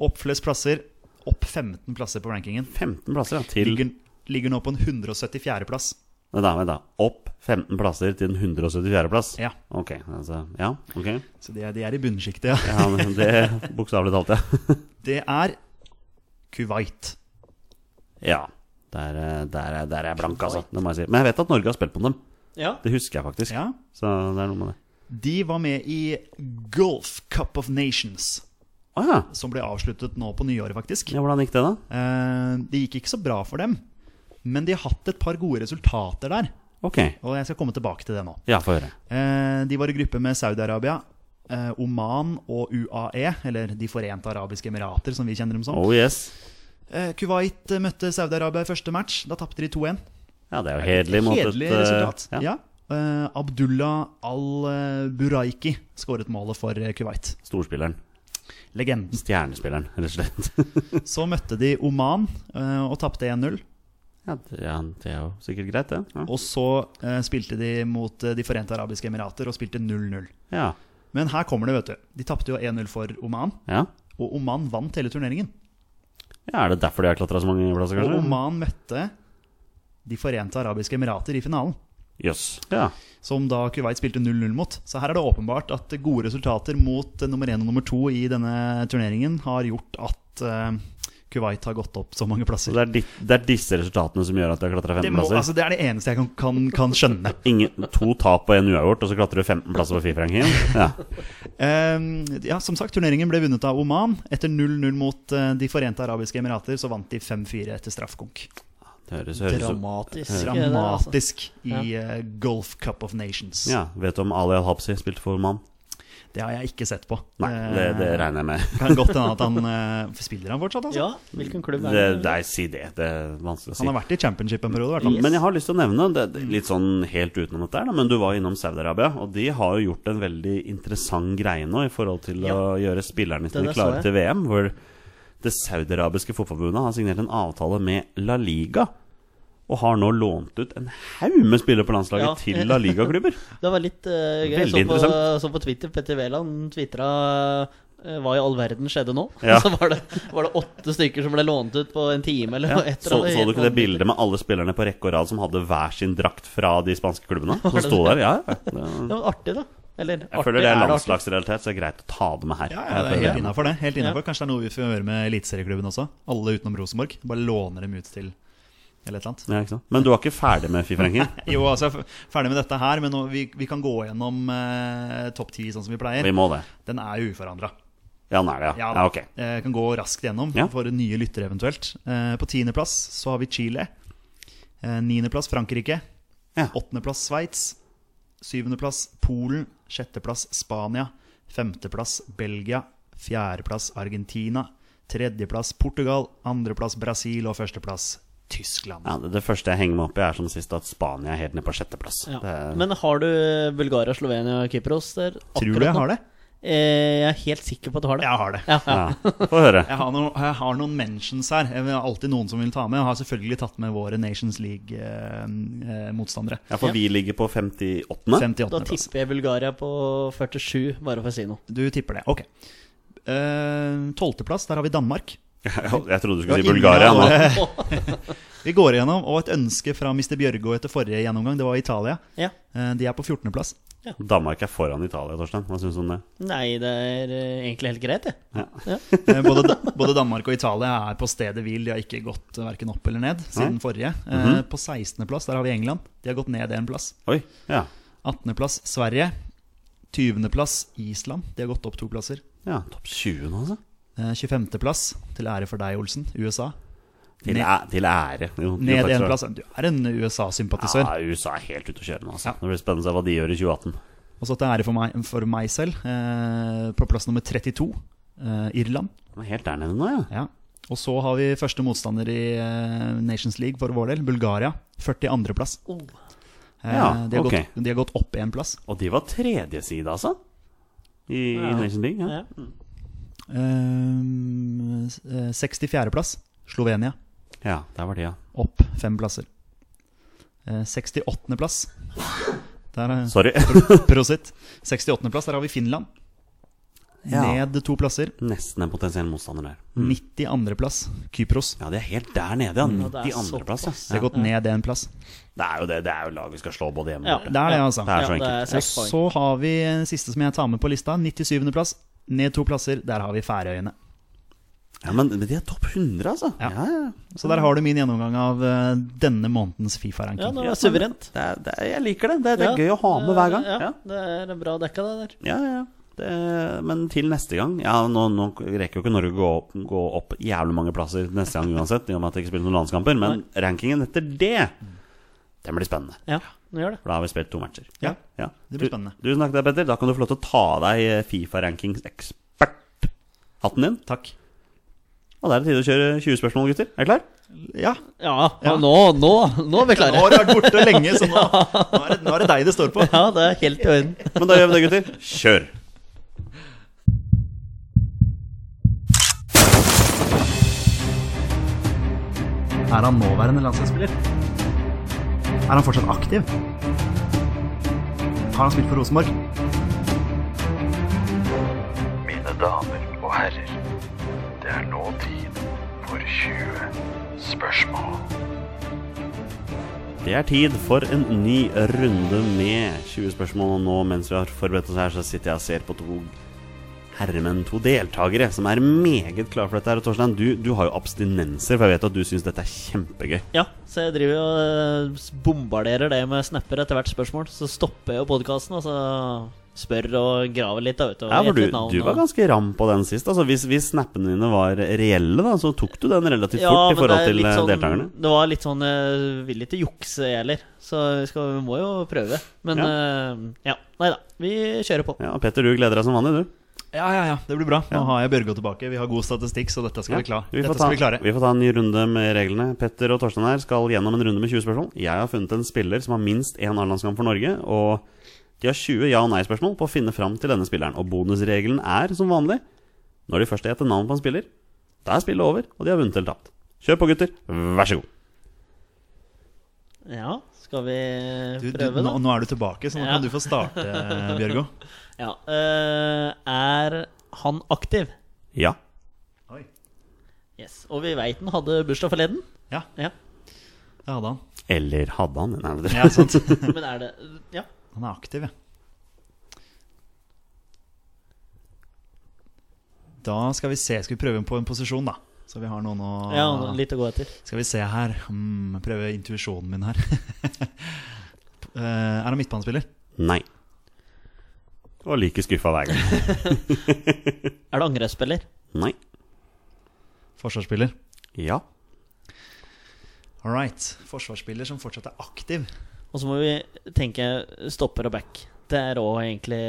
[SPEAKER 3] Opp flest plasser, opp 15 plasser på rankingen.
[SPEAKER 2] 15 plasser ja, til
[SPEAKER 3] ligger, ligger nå på en 174. plass.
[SPEAKER 2] Vent, da. vent da Opp 15 plasser til den 174. plass.
[SPEAKER 3] Ja,
[SPEAKER 2] Ok. Altså, ja, ok.
[SPEAKER 3] Så de er, de er i bunnsjiktet, ja.
[SPEAKER 2] Ja, men det bokstavelig talt, ja.
[SPEAKER 3] Det er Kuwait.
[SPEAKER 2] Ja. Der, eh, der, er- der er jeg blank, altså. Det må jeg si. Men jeg vet at Norge har spilt på dem.
[SPEAKER 4] ja.
[SPEAKER 2] Det husker jeg faktisk.
[SPEAKER 3] Ja.
[SPEAKER 2] Så det er noe med det.
[SPEAKER 3] De var med i Gulf Cup of Nations,
[SPEAKER 2] Å ja.
[SPEAKER 3] som ble avsluttet nå på nyåret, faktisk.
[SPEAKER 2] ja. Hvordan gikk det, da?
[SPEAKER 3] Eh, det gikk ikke så bra for dem, men de har hatt et par gode resultater der.
[SPEAKER 2] Ok.
[SPEAKER 3] Og jeg skal komme tilbake til det nå.
[SPEAKER 2] Ja, få høre.
[SPEAKER 3] Eh, de var i gruppe med Saudi-Arabia, eh, Oman og UAE, eller De forente arabiske emirater, som vi kjenner dem som.
[SPEAKER 2] Oh yes.
[SPEAKER 3] Eh, Kuwait eh, møtte Saudi-Arabia i første match. Da tapte de 2-1.
[SPEAKER 2] Ja, det er jo hederlig mot et
[SPEAKER 3] Kjedelig
[SPEAKER 2] eh,
[SPEAKER 3] resultat. Ja.
[SPEAKER 2] Ja,
[SPEAKER 3] Eh, Abdullah al-Buraiki skåret målet for eh, Kuwait.
[SPEAKER 2] storspilleren.
[SPEAKER 3] Legenden.
[SPEAKER 2] Stjernespilleren, rett og slett.
[SPEAKER 3] Så møtte de Oman eh, og tapte 1-0.
[SPEAKER 2] Ja, det, ja, det er jo sikkert greit, det. Ja.
[SPEAKER 3] Og så eh, spilte de mot eh, De forente arabiske emirater og spilte 0-0.
[SPEAKER 2] ja.
[SPEAKER 3] Men her kommer det, vet du. De tapte jo 1-0 for Oman,
[SPEAKER 2] ja.
[SPEAKER 3] og Oman vant hele turneringen.
[SPEAKER 2] Ja, Er det derfor de har klatra så mange plasser,
[SPEAKER 3] Og
[SPEAKER 2] kanskje?
[SPEAKER 3] Oman møtte De forente arabiske emirater i finalen.
[SPEAKER 2] Jøss. Ja.
[SPEAKER 3] som da Kuwait spilte 0-0 mot. Så her er det åpenbart at gode resultater mot eh, nummer én og nummer to i denne turneringen har gjort at eh, Kuwait har gått opp så mange
[SPEAKER 2] Så
[SPEAKER 3] plasser.
[SPEAKER 2] det er, ditt- det er disse resultatene som gjør at de har klatra
[SPEAKER 3] Det,
[SPEAKER 2] 15
[SPEAKER 3] må,
[SPEAKER 2] plasser?
[SPEAKER 3] altså, det er det eneste jeg kan, kan, kan skjønne.
[SPEAKER 2] Ingen, to tap og én uavgjort, og så klatrer du 15 plasser på Fifa-rankingen? Ja.
[SPEAKER 3] Eh, ja, som sagt, turneringen ble vunnet av Oman. Etter 0-0 mot eh, De forente arabiske emirater så vant de 5-4 etter straffkonk.
[SPEAKER 2] Det høres, høres ut
[SPEAKER 4] Dramatisk. det der, altså.
[SPEAKER 3] Dramatisk i eh, Gulf Cup of Nations.
[SPEAKER 2] Ja, Vet du om Ali Al-Habsi spilte for Oman?
[SPEAKER 3] Det har jeg ikke sett på. Eh,
[SPEAKER 2] Nei, det, det regner jeg med.
[SPEAKER 3] Kan godt hende at han eh, Spiller han fortsatt, altså?
[SPEAKER 4] Ja, hvilken klubb er
[SPEAKER 2] Det,
[SPEAKER 4] det?
[SPEAKER 2] nei, si det. Det er vanskelig å si.
[SPEAKER 3] Han har vært i championship en periode, i hvert fall.
[SPEAKER 2] Men jeg har lyst til å nevne, det det er litt sånn helt utenom dette, her da, men du var innom Saudi-Arabia. Og de har jo gjort en veldig interessant greie nå i forhold til å gjøre spillerne sine
[SPEAKER 4] der så
[SPEAKER 2] klare
[SPEAKER 4] jeg.
[SPEAKER 2] til VM. Hvor det saudiarabiske fotballforbundet har signert en avtale med La Liga. Og har nå lånt ut en haug med spillere på landslaget
[SPEAKER 4] Ja.
[SPEAKER 2] til La Liga-klubber.
[SPEAKER 4] Det var litt eh, gøy.
[SPEAKER 2] Veldig
[SPEAKER 4] Jeg så på,
[SPEAKER 2] interessant.
[SPEAKER 4] så på Twitter, Petter Wæland tvitra hva i all verden skjedde nå?
[SPEAKER 2] Ja.
[SPEAKER 4] Så var det, var det åtte stykker som ble lånt ut på en time eller
[SPEAKER 2] Ja.
[SPEAKER 4] noe. etter
[SPEAKER 2] Så,
[SPEAKER 4] at
[SPEAKER 2] så du ikke det
[SPEAKER 4] helt-
[SPEAKER 2] bildet med alle spillerne på rekke og rad som hadde hver sin drakt fra de spanske klubbene? Som
[SPEAKER 4] det
[SPEAKER 2] sto der? Ja, ja. Det-
[SPEAKER 4] Det var artig, da. Eller
[SPEAKER 2] Jeg føler det er
[SPEAKER 4] artig.
[SPEAKER 2] landslagsrealitet, så det er greit å ta det med her.
[SPEAKER 3] Ja, ja, det
[SPEAKER 2] Jeg
[SPEAKER 3] er
[SPEAKER 2] føler
[SPEAKER 3] helt innafor, det. Helt innenfor.
[SPEAKER 4] Ja.
[SPEAKER 3] Kanskje det er noe vi får gjøre med eliteserieklubben også. Alle utenom Rosenborg. Bare låner dem ut til eller et eller annet.
[SPEAKER 2] Ja, ikke sant? Men du var ikke ferdig med Fifa Ranking?
[SPEAKER 3] Jo, altså, jeg er f- ferdig med dette her, men nå, vi, vi kan gå gjennom eh, topp ti sånn som vi pleier.
[SPEAKER 2] Vi må det.
[SPEAKER 3] Den er jo uforandra.
[SPEAKER 2] Ja, den er det, ja.
[SPEAKER 3] Ja,
[SPEAKER 2] ja ok.
[SPEAKER 3] eh, kan gå raskt gjennom
[SPEAKER 2] Ja.
[SPEAKER 3] for nye lyttere eventuelt. Eh, på tiendeplass så har vi Chile. Eh, Niendeplass Frankrike.
[SPEAKER 2] Ja.
[SPEAKER 3] Åttendeplass Sveits. Syvendeplass Polen. Sjetteplass Spania. Femteplass Belgia. Fjerdeplass Argentina. Tredjeplass Portugal. Andreplass Brasil. Og førsteplass Tyskland.
[SPEAKER 2] Ja, det, det første jeg henger meg opp i, er som sist at Spania er helt ned på sjetteplass.
[SPEAKER 4] Ja.
[SPEAKER 2] Det er-
[SPEAKER 4] Men har du Bulgaria, Slovenia og Kypros der?
[SPEAKER 3] Tror du jeg har det?
[SPEAKER 4] Eh, jeg er helt sikker på at du har det.
[SPEAKER 3] Jeg har det.
[SPEAKER 4] Ja, ja.
[SPEAKER 2] Ja. Få høre.
[SPEAKER 3] Jeg har, noen, jeg har noen mentions her. Jeg har alltid noen som vil ta med. Jeg har selvfølgelig tatt med våre Nations eh, League-motstandere.
[SPEAKER 2] Ja, for vi ligger på 58.
[SPEAKER 3] 58.
[SPEAKER 4] Da
[SPEAKER 3] plass.
[SPEAKER 4] tipper jeg Bulgaria på 47, bare for å si noe.
[SPEAKER 3] Du tipper det. Ok. Eh, Tolvteplass, der har vi Danmark.
[SPEAKER 2] Jeg trodde du skulle si
[SPEAKER 3] Det var
[SPEAKER 2] Bulgaria
[SPEAKER 3] ingen av
[SPEAKER 2] nå.
[SPEAKER 3] Vi går igjennom, og et ønske fra Mr. Bjørgo etter forrige gjennomgang, det var Italia.
[SPEAKER 4] Ja.
[SPEAKER 3] Eh, De er på 14.-plass.
[SPEAKER 2] Danmark er foran Italia, Torstein. Hva syns du om det?
[SPEAKER 4] Nei, det er eh, egentlig helt greit, det.
[SPEAKER 3] Eh, Både, Da- både Danmark og Italia er på stedet hvil. De har ikke gått eh, hverken opp eller ned siden forrige. Eh,
[SPEAKER 2] Mhm.
[SPEAKER 3] På 16.-plass der har vi England. De har gått ned én plass.
[SPEAKER 2] Oi, ja.
[SPEAKER 3] 18.-plass Sverige. 20.-plass Island. De har gått opp to plasser.
[SPEAKER 2] ja Topp 20 nå, altså.
[SPEAKER 3] Eh, 25.-plass, til ære for deg, Olsen, USA.
[SPEAKER 2] Til,
[SPEAKER 3] Ned.
[SPEAKER 2] æ til ære. Jo, jo,
[SPEAKER 3] Ned
[SPEAKER 2] takk skal
[SPEAKER 3] én
[SPEAKER 2] du ha.
[SPEAKER 3] plass. Du er en USA-sympatisør.
[SPEAKER 2] Ja, USA er helt ute å kjøre nå,
[SPEAKER 3] Ja.
[SPEAKER 2] altså. Det blir spennende å se hva de gjør i 2018.
[SPEAKER 3] Og så til ære for meg, for meg selv, eh, på plass nummer 32, eh, Irland.
[SPEAKER 2] De er helt der nede nå, ja.
[SPEAKER 3] Ja. Og så har vi første motstander i eh, Nations League for vår del, Bulgaria. 42. plass.
[SPEAKER 4] Oh.
[SPEAKER 3] Eh,
[SPEAKER 2] Ja,
[SPEAKER 3] de, har
[SPEAKER 2] ok.
[SPEAKER 3] gått, de har gått opp én plass.
[SPEAKER 2] Og de var tredje side, altså. I, i
[SPEAKER 4] Ja.
[SPEAKER 2] Nations League. Ja.
[SPEAKER 4] Ja.
[SPEAKER 3] Eh, s- eh, 64. plass, Slovenia.
[SPEAKER 2] ja, der var de, ja.
[SPEAKER 3] Opp fem plasser. Eh, 68. plass Der, eh,
[SPEAKER 2] Sorry.
[SPEAKER 3] Prosit. 68. plass, der har vi Finland.
[SPEAKER 2] Ja.
[SPEAKER 3] Ned to plasser.
[SPEAKER 2] Nesten en potensiell motstander der. Mm.
[SPEAKER 3] 92. plass, Kypros.
[SPEAKER 2] Ja, de er helt der nede, ja.
[SPEAKER 4] det er
[SPEAKER 2] 92. plass,
[SPEAKER 4] såpass.
[SPEAKER 2] ja.
[SPEAKER 3] De har gått ned én plass.
[SPEAKER 2] Det er jo det, det er jo lag vi skal slå både hjemme
[SPEAKER 4] Ja.
[SPEAKER 2] og borte.
[SPEAKER 3] Det er det, altså.
[SPEAKER 2] Det er så
[SPEAKER 4] ja, det er
[SPEAKER 2] enkelt.
[SPEAKER 4] seks
[SPEAKER 3] Og
[SPEAKER 4] poeng.
[SPEAKER 3] så har vi den siste som jeg tar med på lista. 97. plass. Ned to plasser. Der har vi Færøyene.
[SPEAKER 2] Ja, men, men de er topp 100, altså.
[SPEAKER 3] Ja.
[SPEAKER 2] Ja, ja.
[SPEAKER 3] Så der har du min gjennomgang av eh, denne månedens
[SPEAKER 4] Ja,
[SPEAKER 3] Fifa-ranking.
[SPEAKER 4] det var suverent.
[SPEAKER 2] Det er, det er, jeg liker det. Det er, det er
[SPEAKER 4] Ja,
[SPEAKER 2] gøy å ha med hver gang.
[SPEAKER 4] Ja,
[SPEAKER 2] Ja,
[SPEAKER 4] det er bra dekka, det der.
[SPEAKER 2] ja, ja. Det, men til neste gang Ja, nå, nå rekker jo ikke Norge å gå opp, gå opp jævlig mange plasser neste gang uansett, i og med at det ikke spiller noen landskamper, men rankingen etter det,
[SPEAKER 4] Mm.
[SPEAKER 2] den blir spennende.
[SPEAKER 4] Ja, nå gjør det.
[SPEAKER 2] For da har vi spilt to matcher.
[SPEAKER 3] Ja,
[SPEAKER 2] Ja.
[SPEAKER 3] det blir spennende.
[SPEAKER 2] Du, du snakket deg, Petter. Da kan du få lov til å ta av deg eh, Fifa-rankings-ekspert-hatten din.
[SPEAKER 3] Takk.
[SPEAKER 2] Og da er det tid å kjøre 20 spørsmål, gutter. Er du klar?
[SPEAKER 3] Ja.
[SPEAKER 4] Ja, og nå, nå, nå er
[SPEAKER 3] Nå
[SPEAKER 4] vi klare.
[SPEAKER 3] har du vært borte lenge, så nå, nå, er det, nå er det deg det står på.
[SPEAKER 4] Ja, det er helt i orden.
[SPEAKER 2] Men da gjør vi det, gutter. Kjør!
[SPEAKER 3] Er han nåværende landslagsspiller? Er han fortsatt aktiv? Har han spilt for Rosenborg?
[SPEAKER 5] Mine damer og herrer, det er nå tid for 20 spørsmål.
[SPEAKER 2] Det er tid for en ny runde med 20 spørsmål. Og nå mens vi har forberedt oss her, så sitter jeg og ser på to herremenn, to deltakere, som er meget klare for dette her. Og Torstein, du, du har jo abstinenser, for jeg vet at du syns dette er kjempegøy.
[SPEAKER 4] Ja, så jeg driver og eh, bombarderer det med snapper etter hvert spørsmål. Så stopper jeg jo podkasten, og så spør og graver litt. Da, vet du, og
[SPEAKER 2] Ja, for
[SPEAKER 4] gjetter
[SPEAKER 2] du,
[SPEAKER 4] et navn
[SPEAKER 2] du var
[SPEAKER 4] og-
[SPEAKER 2] ganske ram på den sist. Altså, hvis, hvis snappene dine var reelle, da, så tok du den relativt
[SPEAKER 4] Ja,
[SPEAKER 2] fort i
[SPEAKER 4] men det
[SPEAKER 2] forhold
[SPEAKER 4] er
[SPEAKER 2] til
[SPEAKER 4] litt
[SPEAKER 2] eh,
[SPEAKER 4] sånn,
[SPEAKER 2] deltakerne.
[SPEAKER 4] Det var litt sånn eh, Vil ikke jukse, jeg heller. Så vi, skal, vi må jo prøve. Men eh, ja. Nei da. Vi kjører på.
[SPEAKER 2] Ja, og Petter, du gleder deg som vanlig, du.
[SPEAKER 3] Ja, ja, ja, det blir bra. Nå har jeg Børgo tilbake. Vi har god statistikk, så dette skal, vi, klar.
[SPEAKER 2] Vi,
[SPEAKER 3] dette
[SPEAKER 2] får ta,
[SPEAKER 3] skal vi klare.
[SPEAKER 2] vi får ta en ny runde med reglene. Petter og Torstein her skal gjennom en runde med 20 spørsmål. Jeg har funnet en spiller som har minst én A-landskamp for Norge. Og de har 20 ja- og nei-spørsmål på å finne fram til denne spilleren. Og bonusregelen er, som vanlig, når de først gjetter navn på en spiller, da er spillet over, og de har vunnet eller tapt. Kjør på, gutter. Vær så god.
[SPEAKER 4] Ja, skal vi
[SPEAKER 3] Du, du,
[SPEAKER 4] prøve,
[SPEAKER 3] nå,
[SPEAKER 4] da?
[SPEAKER 3] nå er du tilbake, så nå
[SPEAKER 4] Ja.
[SPEAKER 3] kan du få starte, Bjørgo.
[SPEAKER 4] Ja. eh, er han aktiv?
[SPEAKER 2] Ja.
[SPEAKER 3] Oi.
[SPEAKER 4] Yes. Og vi veit han hadde bursdag forleden.
[SPEAKER 3] Ja,
[SPEAKER 4] Ja.
[SPEAKER 3] det hadde han.
[SPEAKER 2] Eller hadde han? Nei, det
[SPEAKER 3] Ja, sant.
[SPEAKER 4] Men er det Ja.
[SPEAKER 3] Han er aktiv, ja. Da skal vi se. Skal vi prøve på en posisjon, da? Så vi har noen å
[SPEAKER 4] ja litt å gå etter.
[SPEAKER 3] Skal vi se her. Hmm, prøve intuisjonen min her. Eh, er han midtbanespiller?
[SPEAKER 2] Nei. Og like skuffa hver gang.
[SPEAKER 4] Er det angrepsspiller?
[SPEAKER 2] Nei.
[SPEAKER 3] Forsvarsspiller?
[SPEAKER 2] Ja.
[SPEAKER 3] All right. Forsvarsspiller som fortsatt er aktiv.
[SPEAKER 4] Og så må vi tenke stopper og back. Det er òg egentlig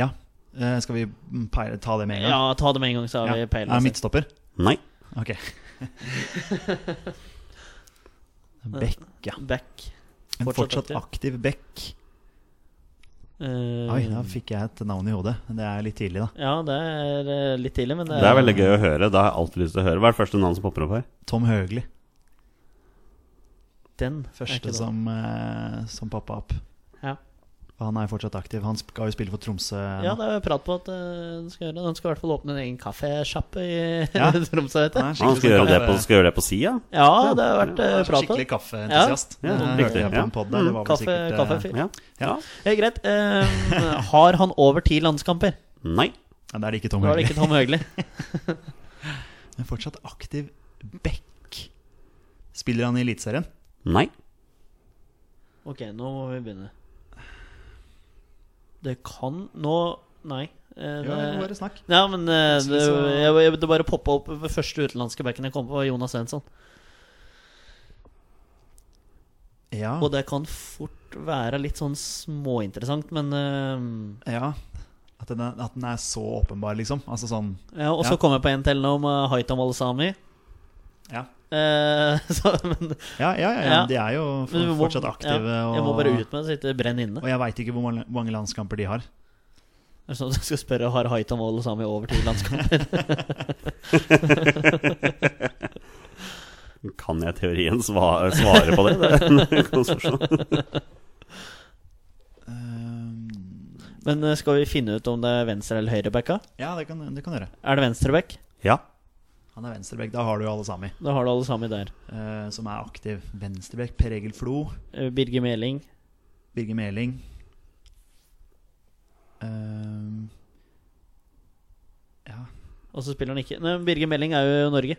[SPEAKER 3] Ja. Eh, skal vi mm, peile, ta det med en gang?
[SPEAKER 4] Ja, ta det med en gang, så har vi
[SPEAKER 3] Ja. Er
[SPEAKER 4] peilen.
[SPEAKER 3] han midtstopper?
[SPEAKER 2] Nei.
[SPEAKER 3] Ok. Beck, ja.
[SPEAKER 4] Back.
[SPEAKER 3] En
[SPEAKER 4] Fortsatt
[SPEAKER 3] fortsatt
[SPEAKER 4] aktiv.
[SPEAKER 3] aktiv Beck.
[SPEAKER 4] Eh,
[SPEAKER 3] Oi, da fikk jeg et navn i hodet. Det er litt tidlig, da.
[SPEAKER 4] Ja, det er eh, litt tidlig, men det
[SPEAKER 2] Det
[SPEAKER 4] er,
[SPEAKER 2] er veldig gøy å høre. Da har jeg alltid lyst til å høre. Hva er det første navnet som popper opp her?
[SPEAKER 3] Tom Høgli.
[SPEAKER 4] den er ikke
[SPEAKER 3] Første
[SPEAKER 4] dum.
[SPEAKER 3] som, eh, som poppa opp.
[SPEAKER 4] Ja.
[SPEAKER 3] Han er fortsatt aktiv. Han skal jo spille for Tromsø.
[SPEAKER 4] Ja,
[SPEAKER 3] nå.
[SPEAKER 4] det er prat på at eh, den skal gjøre det. Den skal i hvert fall åpne en egen kaffesjappe i
[SPEAKER 3] Ja.
[SPEAKER 4] Tromsø. vet du.
[SPEAKER 3] Han er
[SPEAKER 2] Han
[SPEAKER 3] skikkelig
[SPEAKER 2] skal
[SPEAKER 3] sånn
[SPEAKER 2] gjøre det
[SPEAKER 3] kaffe-
[SPEAKER 2] på, skal gjøre det på sida?
[SPEAKER 4] Ja, det har vært eh,
[SPEAKER 3] han er
[SPEAKER 4] prat om.
[SPEAKER 3] Skikkelig kaffeentusiast.
[SPEAKER 2] Ja, ja,
[SPEAKER 3] Det hørte
[SPEAKER 2] riktig,
[SPEAKER 3] jeg på
[SPEAKER 2] ja.
[SPEAKER 3] en podd der. Det var vel
[SPEAKER 4] Kaffe,
[SPEAKER 3] sikkert, eh,
[SPEAKER 4] kaffefyr.
[SPEAKER 2] Ja. ja.
[SPEAKER 3] Ja.
[SPEAKER 4] Eh, greit. Eh, har han over ti landskamper?
[SPEAKER 2] Nei.
[SPEAKER 3] ja, det er det ikke Tom
[SPEAKER 4] Da er
[SPEAKER 3] Høgli.
[SPEAKER 4] det ikke Tom Høgli.
[SPEAKER 3] Men fortsatt aktiv Beck. Spiller han i Eliteserien?
[SPEAKER 2] Nei.
[SPEAKER 4] Ok, nå må vi begynne. Det kan Nå Nei. eh,
[SPEAKER 3] Ja,
[SPEAKER 4] det,
[SPEAKER 3] bare snakk.
[SPEAKER 4] ja, men eh, det,
[SPEAKER 3] Plutselig så-
[SPEAKER 4] jeg, jeg, det bare poppa opp ved første utenlandske backen jeg kom på, var Jonas Svensson.
[SPEAKER 3] Ja.
[SPEAKER 4] Og det kan fort være litt sånn småinteressant, men eh,
[SPEAKER 3] ja. At, den er, at den er så åpenbar, liksom. Altså sånn
[SPEAKER 4] Ja, og så
[SPEAKER 3] Ja.
[SPEAKER 4] kom jeg på en til nå om eh, Haitham Alsami.
[SPEAKER 3] Ja,
[SPEAKER 4] Eh, så, men,
[SPEAKER 3] ja, ja. ja, ja.
[SPEAKER 4] Ja.
[SPEAKER 3] De er jo
[SPEAKER 4] men vi må-
[SPEAKER 3] fortsatt aktive.
[SPEAKER 4] Ja,
[SPEAKER 3] og,
[SPEAKER 4] jeg må bare ut med det, så ikke det brenner inne.
[SPEAKER 3] Og jeg veit ikke hvor mange- mange landskamper de har.
[SPEAKER 4] Det er Sånn at jeg skal spørre har Haitham Alsami over til landskamper.
[SPEAKER 2] Kan jeg i teorien svare, svare på det? det? er en konstruksjon.
[SPEAKER 3] Ehm,
[SPEAKER 4] men eh, skal vi finne ut om det er venstre- eller høyrebacka?
[SPEAKER 3] ja, det kan, det kan du gjøre.
[SPEAKER 4] Er det venstreback?
[SPEAKER 2] Ja.
[SPEAKER 3] Han er venstrebekk. Da har du jo alle sami
[SPEAKER 4] Da har du Alsami der.
[SPEAKER 3] eh, som er aktiv. Venstrebekk, Per Egil Flo,
[SPEAKER 4] Eh, Birger Meling.
[SPEAKER 3] Birger Meling. Ehm, ja,
[SPEAKER 4] Og så spiller han ikke Nei, men Birger Meling er jo i Norge.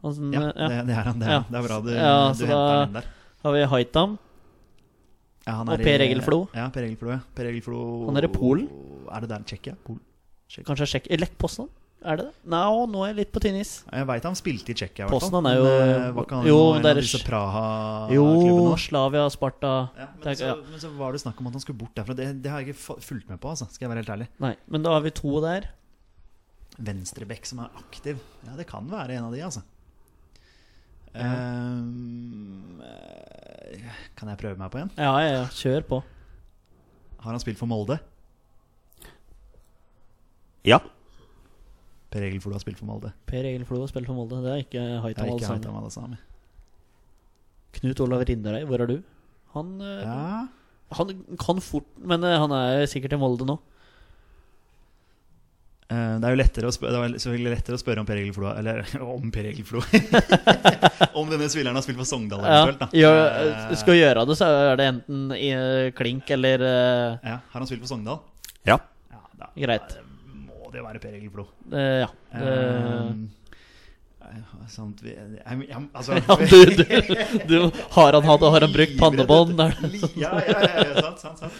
[SPEAKER 4] Og sånn,
[SPEAKER 3] ja,
[SPEAKER 4] eh, ja.
[SPEAKER 3] Det, det er han. Det er,
[SPEAKER 4] Ja.
[SPEAKER 3] det er bra du,
[SPEAKER 4] Ja,
[SPEAKER 3] du
[SPEAKER 4] så
[SPEAKER 3] henta
[SPEAKER 4] da-
[SPEAKER 3] den inn der.
[SPEAKER 4] Har vi Haitham?
[SPEAKER 3] Ja, han
[SPEAKER 4] og
[SPEAKER 3] er i-
[SPEAKER 4] Per Egil Flo.
[SPEAKER 3] Ja, Per Egil Flo, ja. Per Egil Flo
[SPEAKER 4] Han er i Polen.
[SPEAKER 3] Er det der Tsjekkia? Polen?
[SPEAKER 4] Kanskje jeg sjekker Lech Poznan? Er det det? Nei, å, nå er jeg litt på tynn is.
[SPEAKER 3] Jeg veit han spilte i Tsjekkia, i hvert fall.
[SPEAKER 4] Poznan er jo-
[SPEAKER 3] Men, eh, var ikke han
[SPEAKER 4] jo,
[SPEAKER 3] jo, en
[SPEAKER 4] der er-
[SPEAKER 3] av disse
[SPEAKER 4] Jo,
[SPEAKER 3] Praha-klubbene?
[SPEAKER 4] Slavia, Sparta
[SPEAKER 3] Ja, men,
[SPEAKER 4] Det er-
[SPEAKER 3] så,
[SPEAKER 4] ja.
[SPEAKER 3] men så var det snakk om at han skulle bort derfra. Det, det har jeg ikke fa- fulgt med på, altså, skal jeg være helt ærlig.
[SPEAKER 4] Nei, men da har vi to der.
[SPEAKER 3] Venstrebekk som er aktiv. Ja, det kan være en av de, altså. Ehm, eh, kan jeg prøve meg på en?
[SPEAKER 4] Ja, ja, ja. Kjør på.
[SPEAKER 3] Har han spilt for Molde?
[SPEAKER 2] Ja.
[SPEAKER 3] Per Egil Flo har spilt for Molde.
[SPEAKER 4] Per Egil Flo har spilt for Molde. Det er ikke
[SPEAKER 3] Jeg
[SPEAKER 4] Haitam
[SPEAKER 3] har ikke hørt
[SPEAKER 4] Alsami.
[SPEAKER 3] om alle sammen.
[SPEAKER 4] Knut Olav Rinderøy, hvor er du? Han, eh,
[SPEAKER 3] Ja.
[SPEAKER 4] han kan fort Men eh, han er sikkert i Molde nå.
[SPEAKER 3] Eh, Det er jo lettere å spørre, det var selvfølgelig lettere å spørre om Per Egil Flo Eller om Per Egil Flo. om denne spilleren har spilt for Sogndal
[SPEAKER 4] Ja,
[SPEAKER 3] eventuelt, da.
[SPEAKER 4] gjør,
[SPEAKER 3] Eh,
[SPEAKER 4] eh, skal gjøre det, så er det enten i eh, klink eller eh,
[SPEAKER 3] ja, har han spilt for Sogndal?
[SPEAKER 2] Ja.
[SPEAKER 3] Ja, da
[SPEAKER 4] Greit.
[SPEAKER 3] da må det jo være Per Egil Flo.
[SPEAKER 4] eh, Ja.
[SPEAKER 3] Eh,
[SPEAKER 4] Eh,
[SPEAKER 3] Eh, sant, vi, jeg, jeg, altså,
[SPEAKER 4] Ja, du, du, du, har han hatt og har han brukt pannebånd? Er det
[SPEAKER 3] Li- Ja, ja, ja, ja, sant, sant, sant.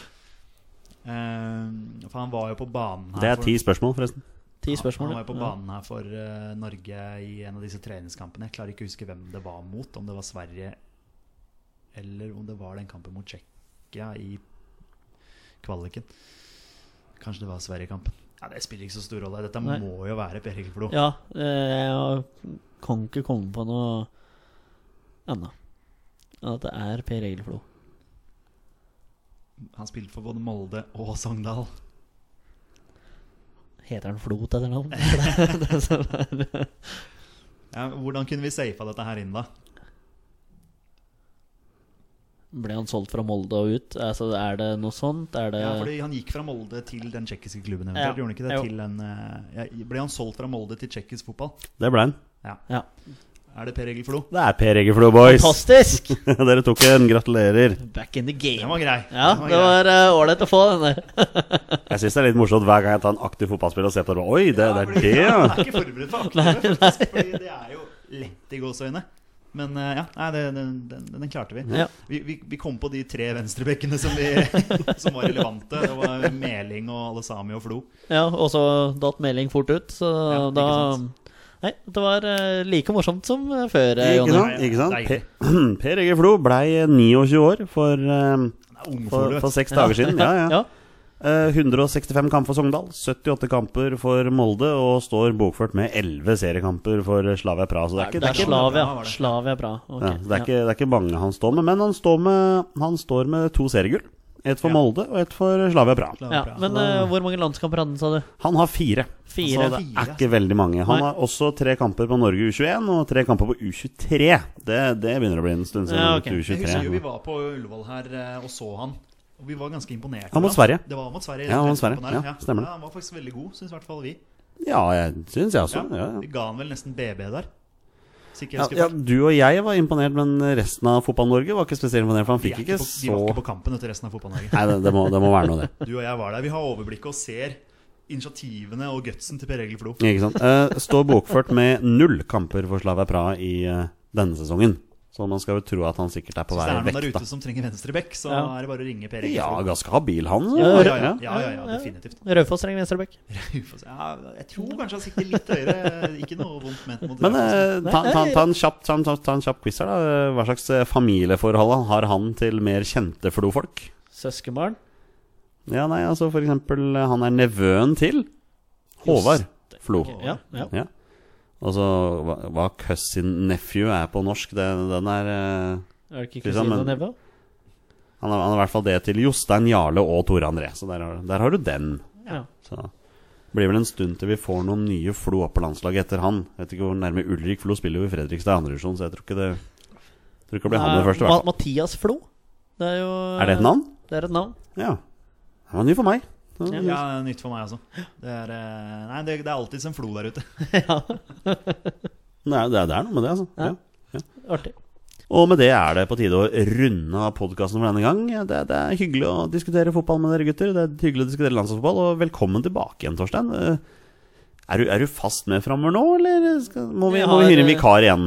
[SPEAKER 3] Eh, for han var jo på banen her
[SPEAKER 2] Det er
[SPEAKER 3] for-
[SPEAKER 2] ti spørsmål, forresten.
[SPEAKER 4] ti
[SPEAKER 3] Han
[SPEAKER 4] spørsmål?
[SPEAKER 3] var jo på
[SPEAKER 4] ja.
[SPEAKER 3] banen her for eh, Norge i en av disse treningskampene. Jeg klarer ikke å huske hvem det var mot, om det var Sverige eller om det var den kampen mot Tsjekkia i kvaliken. Kanskje det var Sverige-kampen. Ja, Det spiller ikke så stor rolle. Dette
[SPEAKER 4] Nei.
[SPEAKER 3] må jo være Per Hilflo.
[SPEAKER 4] Ja, eh, jeg kan ikke komme på noe annet enn at det er Per Egilflo.
[SPEAKER 3] Han spilte for både Molde og Sogndal.
[SPEAKER 4] Heter han Flo til etternavn? Det er det som er-
[SPEAKER 3] Ja, hvordan kunne vi safa dette her inn, da?
[SPEAKER 4] Ble han solgt fra Molde og ut? Altså, er det noe sånt? Er det
[SPEAKER 3] Ja, fordi Han gikk fra Molde til den tsjekkiske klubben.
[SPEAKER 4] Eh, Ja.
[SPEAKER 3] eventuelt, gjorde han ikke det?
[SPEAKER 4] Jo.
[SPEAKER 3] Til en, eh, ja, ble han solgt fra Molde til tsjekkisk fotball?
[SPEAKER 2] Det ble han.
[SPEAKER 4] Ja.
[SPEAKER 3] Er det Per Egil Flo?
[SPEAKER 2] Det er Per Eggerflo, boys.
[SPEAKER 4] Fantastisk!
[SPEAKER 2] Dere tok en. Gratulerer.
[SPEAKER 4] Back in the
[SPEAKER 3] Den
[SPEAKER 4] game.
[SPEAKER 3] var grei.
[SPEAKER 4] Ja,
[SPEAKER 3] Den
[SPEAKER 4] det
[SPEAKER 3] grei.
[SPEAKER 4] var eh, ålreit å få den der.
[SPEAKER 2] Jeg syns det er litt morsomt hver gang jeg tar en aktiv fotballspiller og ser på det. Oi, det, det er
[SPEAKER 3] fordi- ja,
[SPEAKER 2] det, ja.
[SPEAKER 3] Han er ikke forberedt på akkurat faktisk, fordi det er jo lett i gåseøyne. Men eh, ja, nei, det, den, den, den klarte vi.
[SPEAKER 4] Ja.
[SPEAKER 3] vi. Vi vi kom på de tre venstrebekkene som, vi, som var relevante. Det var Meling og Alesami og Flo.
[SPEAKER 4] Ja, og så datt melding fort ut, så
[SPEAKER 3] Ja, ikke
[SPEAKER 4] da
[SPEAKER 3] sant.
[SPEAKER 4] Nei, det var eh, like morsomt som eh, før,
[SPEAKER 2] Ikke
[SPEAKER 4] eh, Jonny.
[SPEAKER 2] sant? Ikke sant?
[SPEAKER 3] Nei.
[SPEAKER 2] Per, per Egil Flo blei 29 år for, eh,
[SPEAKER 3] Han er ung
[SPEAKER 2] for,
[SPEAKER 3] Flo,
[SPEAKER 2] for
[SPEAKER 3] vet du.
[SPEAKER 2] seks dager siden. Ja, ja.
[SPEAKER 4] Ja,
[SPEAKER 2] Eh, 165 kamper for Sogndal, 78 kamper for Molde og står bokført med 11 seriekamper for Slavia Praha. Så det er ikke,
[SPEAKER 4] det er Slavia.
[SPEAKER 3] bra, var det.
[SPEAKER 4] Slavia bra. ok,
[SPEAKER 2] ja, så det, er
[SPEAKER 4] ja.
[SPEAKER 2] ikke, det er ikke mange han står med, men han står med, han står med to seriegull. Ett for
[SPEAKER 3] Ja.
[SPEAKER 2] Molde og ett for Slavia Praha.
[SPEAKER 4] ja, Men eh, hvor mange landskamper hadde han, sa du?
[SPEAKER 2] Han har fire.
[SPEAKER 4] Fire.
[SPEAKER 2] Så det
[SPEAKER 3] Fire.
[SPEAKER 2] er ikke veldig mange. Han
[SPEAKER 4] Nei.
[SPEAKER 2] har også tre kamper på Norge U21 og tre kamper på U23. Det, det begynner å bli en stund siden.
[SPEAKER 4] Ja, ok.
[SPEAKER 3] Jeg husker jo vi
[SPEAKER 2] U23.
[SPEAKER 3] var på Ullevål her eh, og så han. Og vi var ganske imponert.
[SPEAKER 2] Han mot
[SPEAKER 3] over
[SPEAKER 2] Sverige.
[SPEAKER 3] Det var mot Sverige.
[SPEAKER 2] Ja, han mot
[SPEAKER 3] den kampen
[SPEAKER 2] Sverige.
[SPEAKER 3] her,
[SPEAKER 2] Ja, stemmer det.
[SPEAKER 3] Ja, han var faktisk veldig god, syns i hvert fall vi.
[SPEAKER 2] Ja, jeg syns jeg også.
[SPEAKER 3] Ja,
[SPEAKER 2] Ja, ja.
[SPEAKER 3] Vi ga han vel nesten BB der. Hvis ikke jeg
[SPEAKER 2] Ja,
[SPEAKER 3] husker
[SPEAKER 2] ja,
[SPEAKER 3] feil.
[SPEAKER 2] du og jeg var imponert, men resten av Fotball-Norge var ikke spesielt imponert. For han
[SPEAKER 3] De
[SPEAKER 2] fikk
[SPEAKER 3] er
[SPEAKER 2] ikke
[SPEAKER 3] ikke på, de
[SPEAKER 2] så
[SPEAKER 3] var ikke på kampen etter resten av fotball
[SPEAKER 2] Nei, det, det, må, det må være noe, det.
[SPEAKER 3] Du og jeg var der. Vi har overblikket og ser initiativene og gutsen til Per Egil Flo.
[SPEAKER 2] Ikke sant? Eh, står bokført med null kamper for Slavia Praha i eh, denne sesongen. Så man skal jo tro at han sikkert er på
[SPEAKER 3] Hvis det
[SPEAKER 2] vei
[SPEAKER 3] er noen der
[SPEAKER 2] vekk, da.
[SPEAKER 3] ute som trenger venstrebekk, så
[SPEAKER 4] Ja.
[SPEAKER 3] er det bare å ringe Per Egil
[SPEAKER 2] Ja,
[SPEAKER 3] Flo.
[SPEAKER 2] ganske habil han. så.
[SPEAKER 3] Ja,
[SPEAKER 4] Ja,
[SPEAKER 3] ja, ja,
[SPEAKER 2] Ja.
[SPEAKER 3] ja, ja, ja definitivt.
[SPEAKER 4] Raufoss trenger venstreback.
[SPEAKER 3] Raufoss ja, Jeg tror kanskje han sikter litt høyere. Ikke noe vondt ment mot
[SPEAKER 2] Men
[SPEAKER 3] Raufoss.
[SPEAKER 2] eh, ta, ta, ta, en kjapp, ta, en, ta, ta en kjapp quiz her, da. Hva slags eh, familieforhold han- har han til mer kjente flofolk?
[SPEAKER 4] Søskenbarn.
[SPEAKER 2] Ja, nei, altså for eksempel eh, Han er nevøen til Håvard Flo.
[SPEAKER 4] Ja, ja.
[SPEAKER 2] Ja. Altså hva, hva cousin nephew er på norsk, det, den er eh,
[SPEAKER 4] Er det ikke
[SPEAKER 2] Liksom, men-
[SPEAKER 4] kusine og nevø?
[SPEAKER 2] han, har, han har i hvert fall det til Jostein Jarle og Tore André, så der har, der har du den.
[SPEAKER 4] Ja.
[SPEAKER 2] Så blir vel en stund til vi får noen nye Flo opp på landslaget etter han. Vet ikke hvor nærme Ulrik Flo spiller jo i Fredrikstad i andre divisjon, så jeg tror ikke det Tror ikke det blir han
[SPEAKER 4] Nei,
[SPEAKER 2] det første, i hvert
[SPEAKER 4] Ma- Mathias Flo. Det er
[SPEAKER 2] fall.
[SPEAKER 4] jo eh,
[SPEAKER 2] Er det et navn?
[SPEAKER 4] Det er et navn.
[SPEAKER 2] Ja. Han var ny for meg.
[SPEAKER 4] Ja.
[SPEAKER 3] Ja, nytt for meg også. Det er, eh, nei, det, det er alltid en flo der ute.
[SPEAKER 4] ja,
[SPEAKER 2] Det er, det er- det er noe med det, altså.
[SPEAKER 4] Ja.
[SPEAKER 2] Ja.
[SPEAKER 4] artig.
[SPEAKER 2] Og med det er det på tide å runde av podkasten for denne gang. Det, det er hyggelig å diskutere fotball med dere gutter. Det er hyggelig å diskutere landslagsfotball, og velkommen tilbake igjen, Torstein. Eh, Er du, er du fast med framover nå, eller skal, må, vi,
[SPEAKER 4] Jeg
[SPEAKER 2] må vi
[SPEAKER 4] har,
[SPEAKER 2] hyre en
[SPEAKER 4] eh,
[SPEAKER 2] vikar igjen?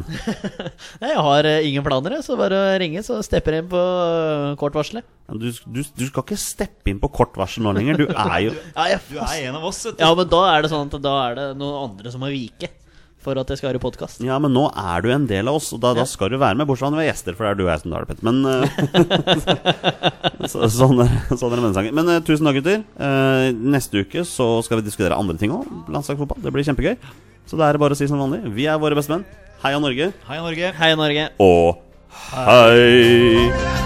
[SPEAKER 4] Nei, jeg har eh, ingen planer, jeg, så bare ringe, så stepper jeg inn på eh, kort varsel. jeg.
[SPEAKER 2] Du, du, du skal ikke steppe inn på kort varsel nå lenger. Du er jo
[SPEAKER 4] Ja, jeg
[SPEAKER 3] Du er en av oss, vet du.
[SPEAKER 4] Ja, men da er det sånn at da er det noen andre som må vike for at jeg skal være i podkast.
[SPEAKER 2] Ja, men nå er du en del av oss, og da,
[SPEAKER 4] Ja.
[SPEAKER 2] da skal du være med. Bortsett fra når vi er gjester, for det er du og jeg som tar det, Petter. Men eh, så, sånn, er, sånn er det med den sangen. Men eh, tusen takk, gutter. Eh, neste uke så skal vi diskutere andre ting òg. Landslagsfotball. Det blir kjempegøy. Så det er bare å si som vanlig. Vi er våre beste menn. Heia Norge.
[SPEAKER 3] Hei, Norge.
[SPEAKER 4] Hei, Norge.
[SPEAKER 2] Og hei!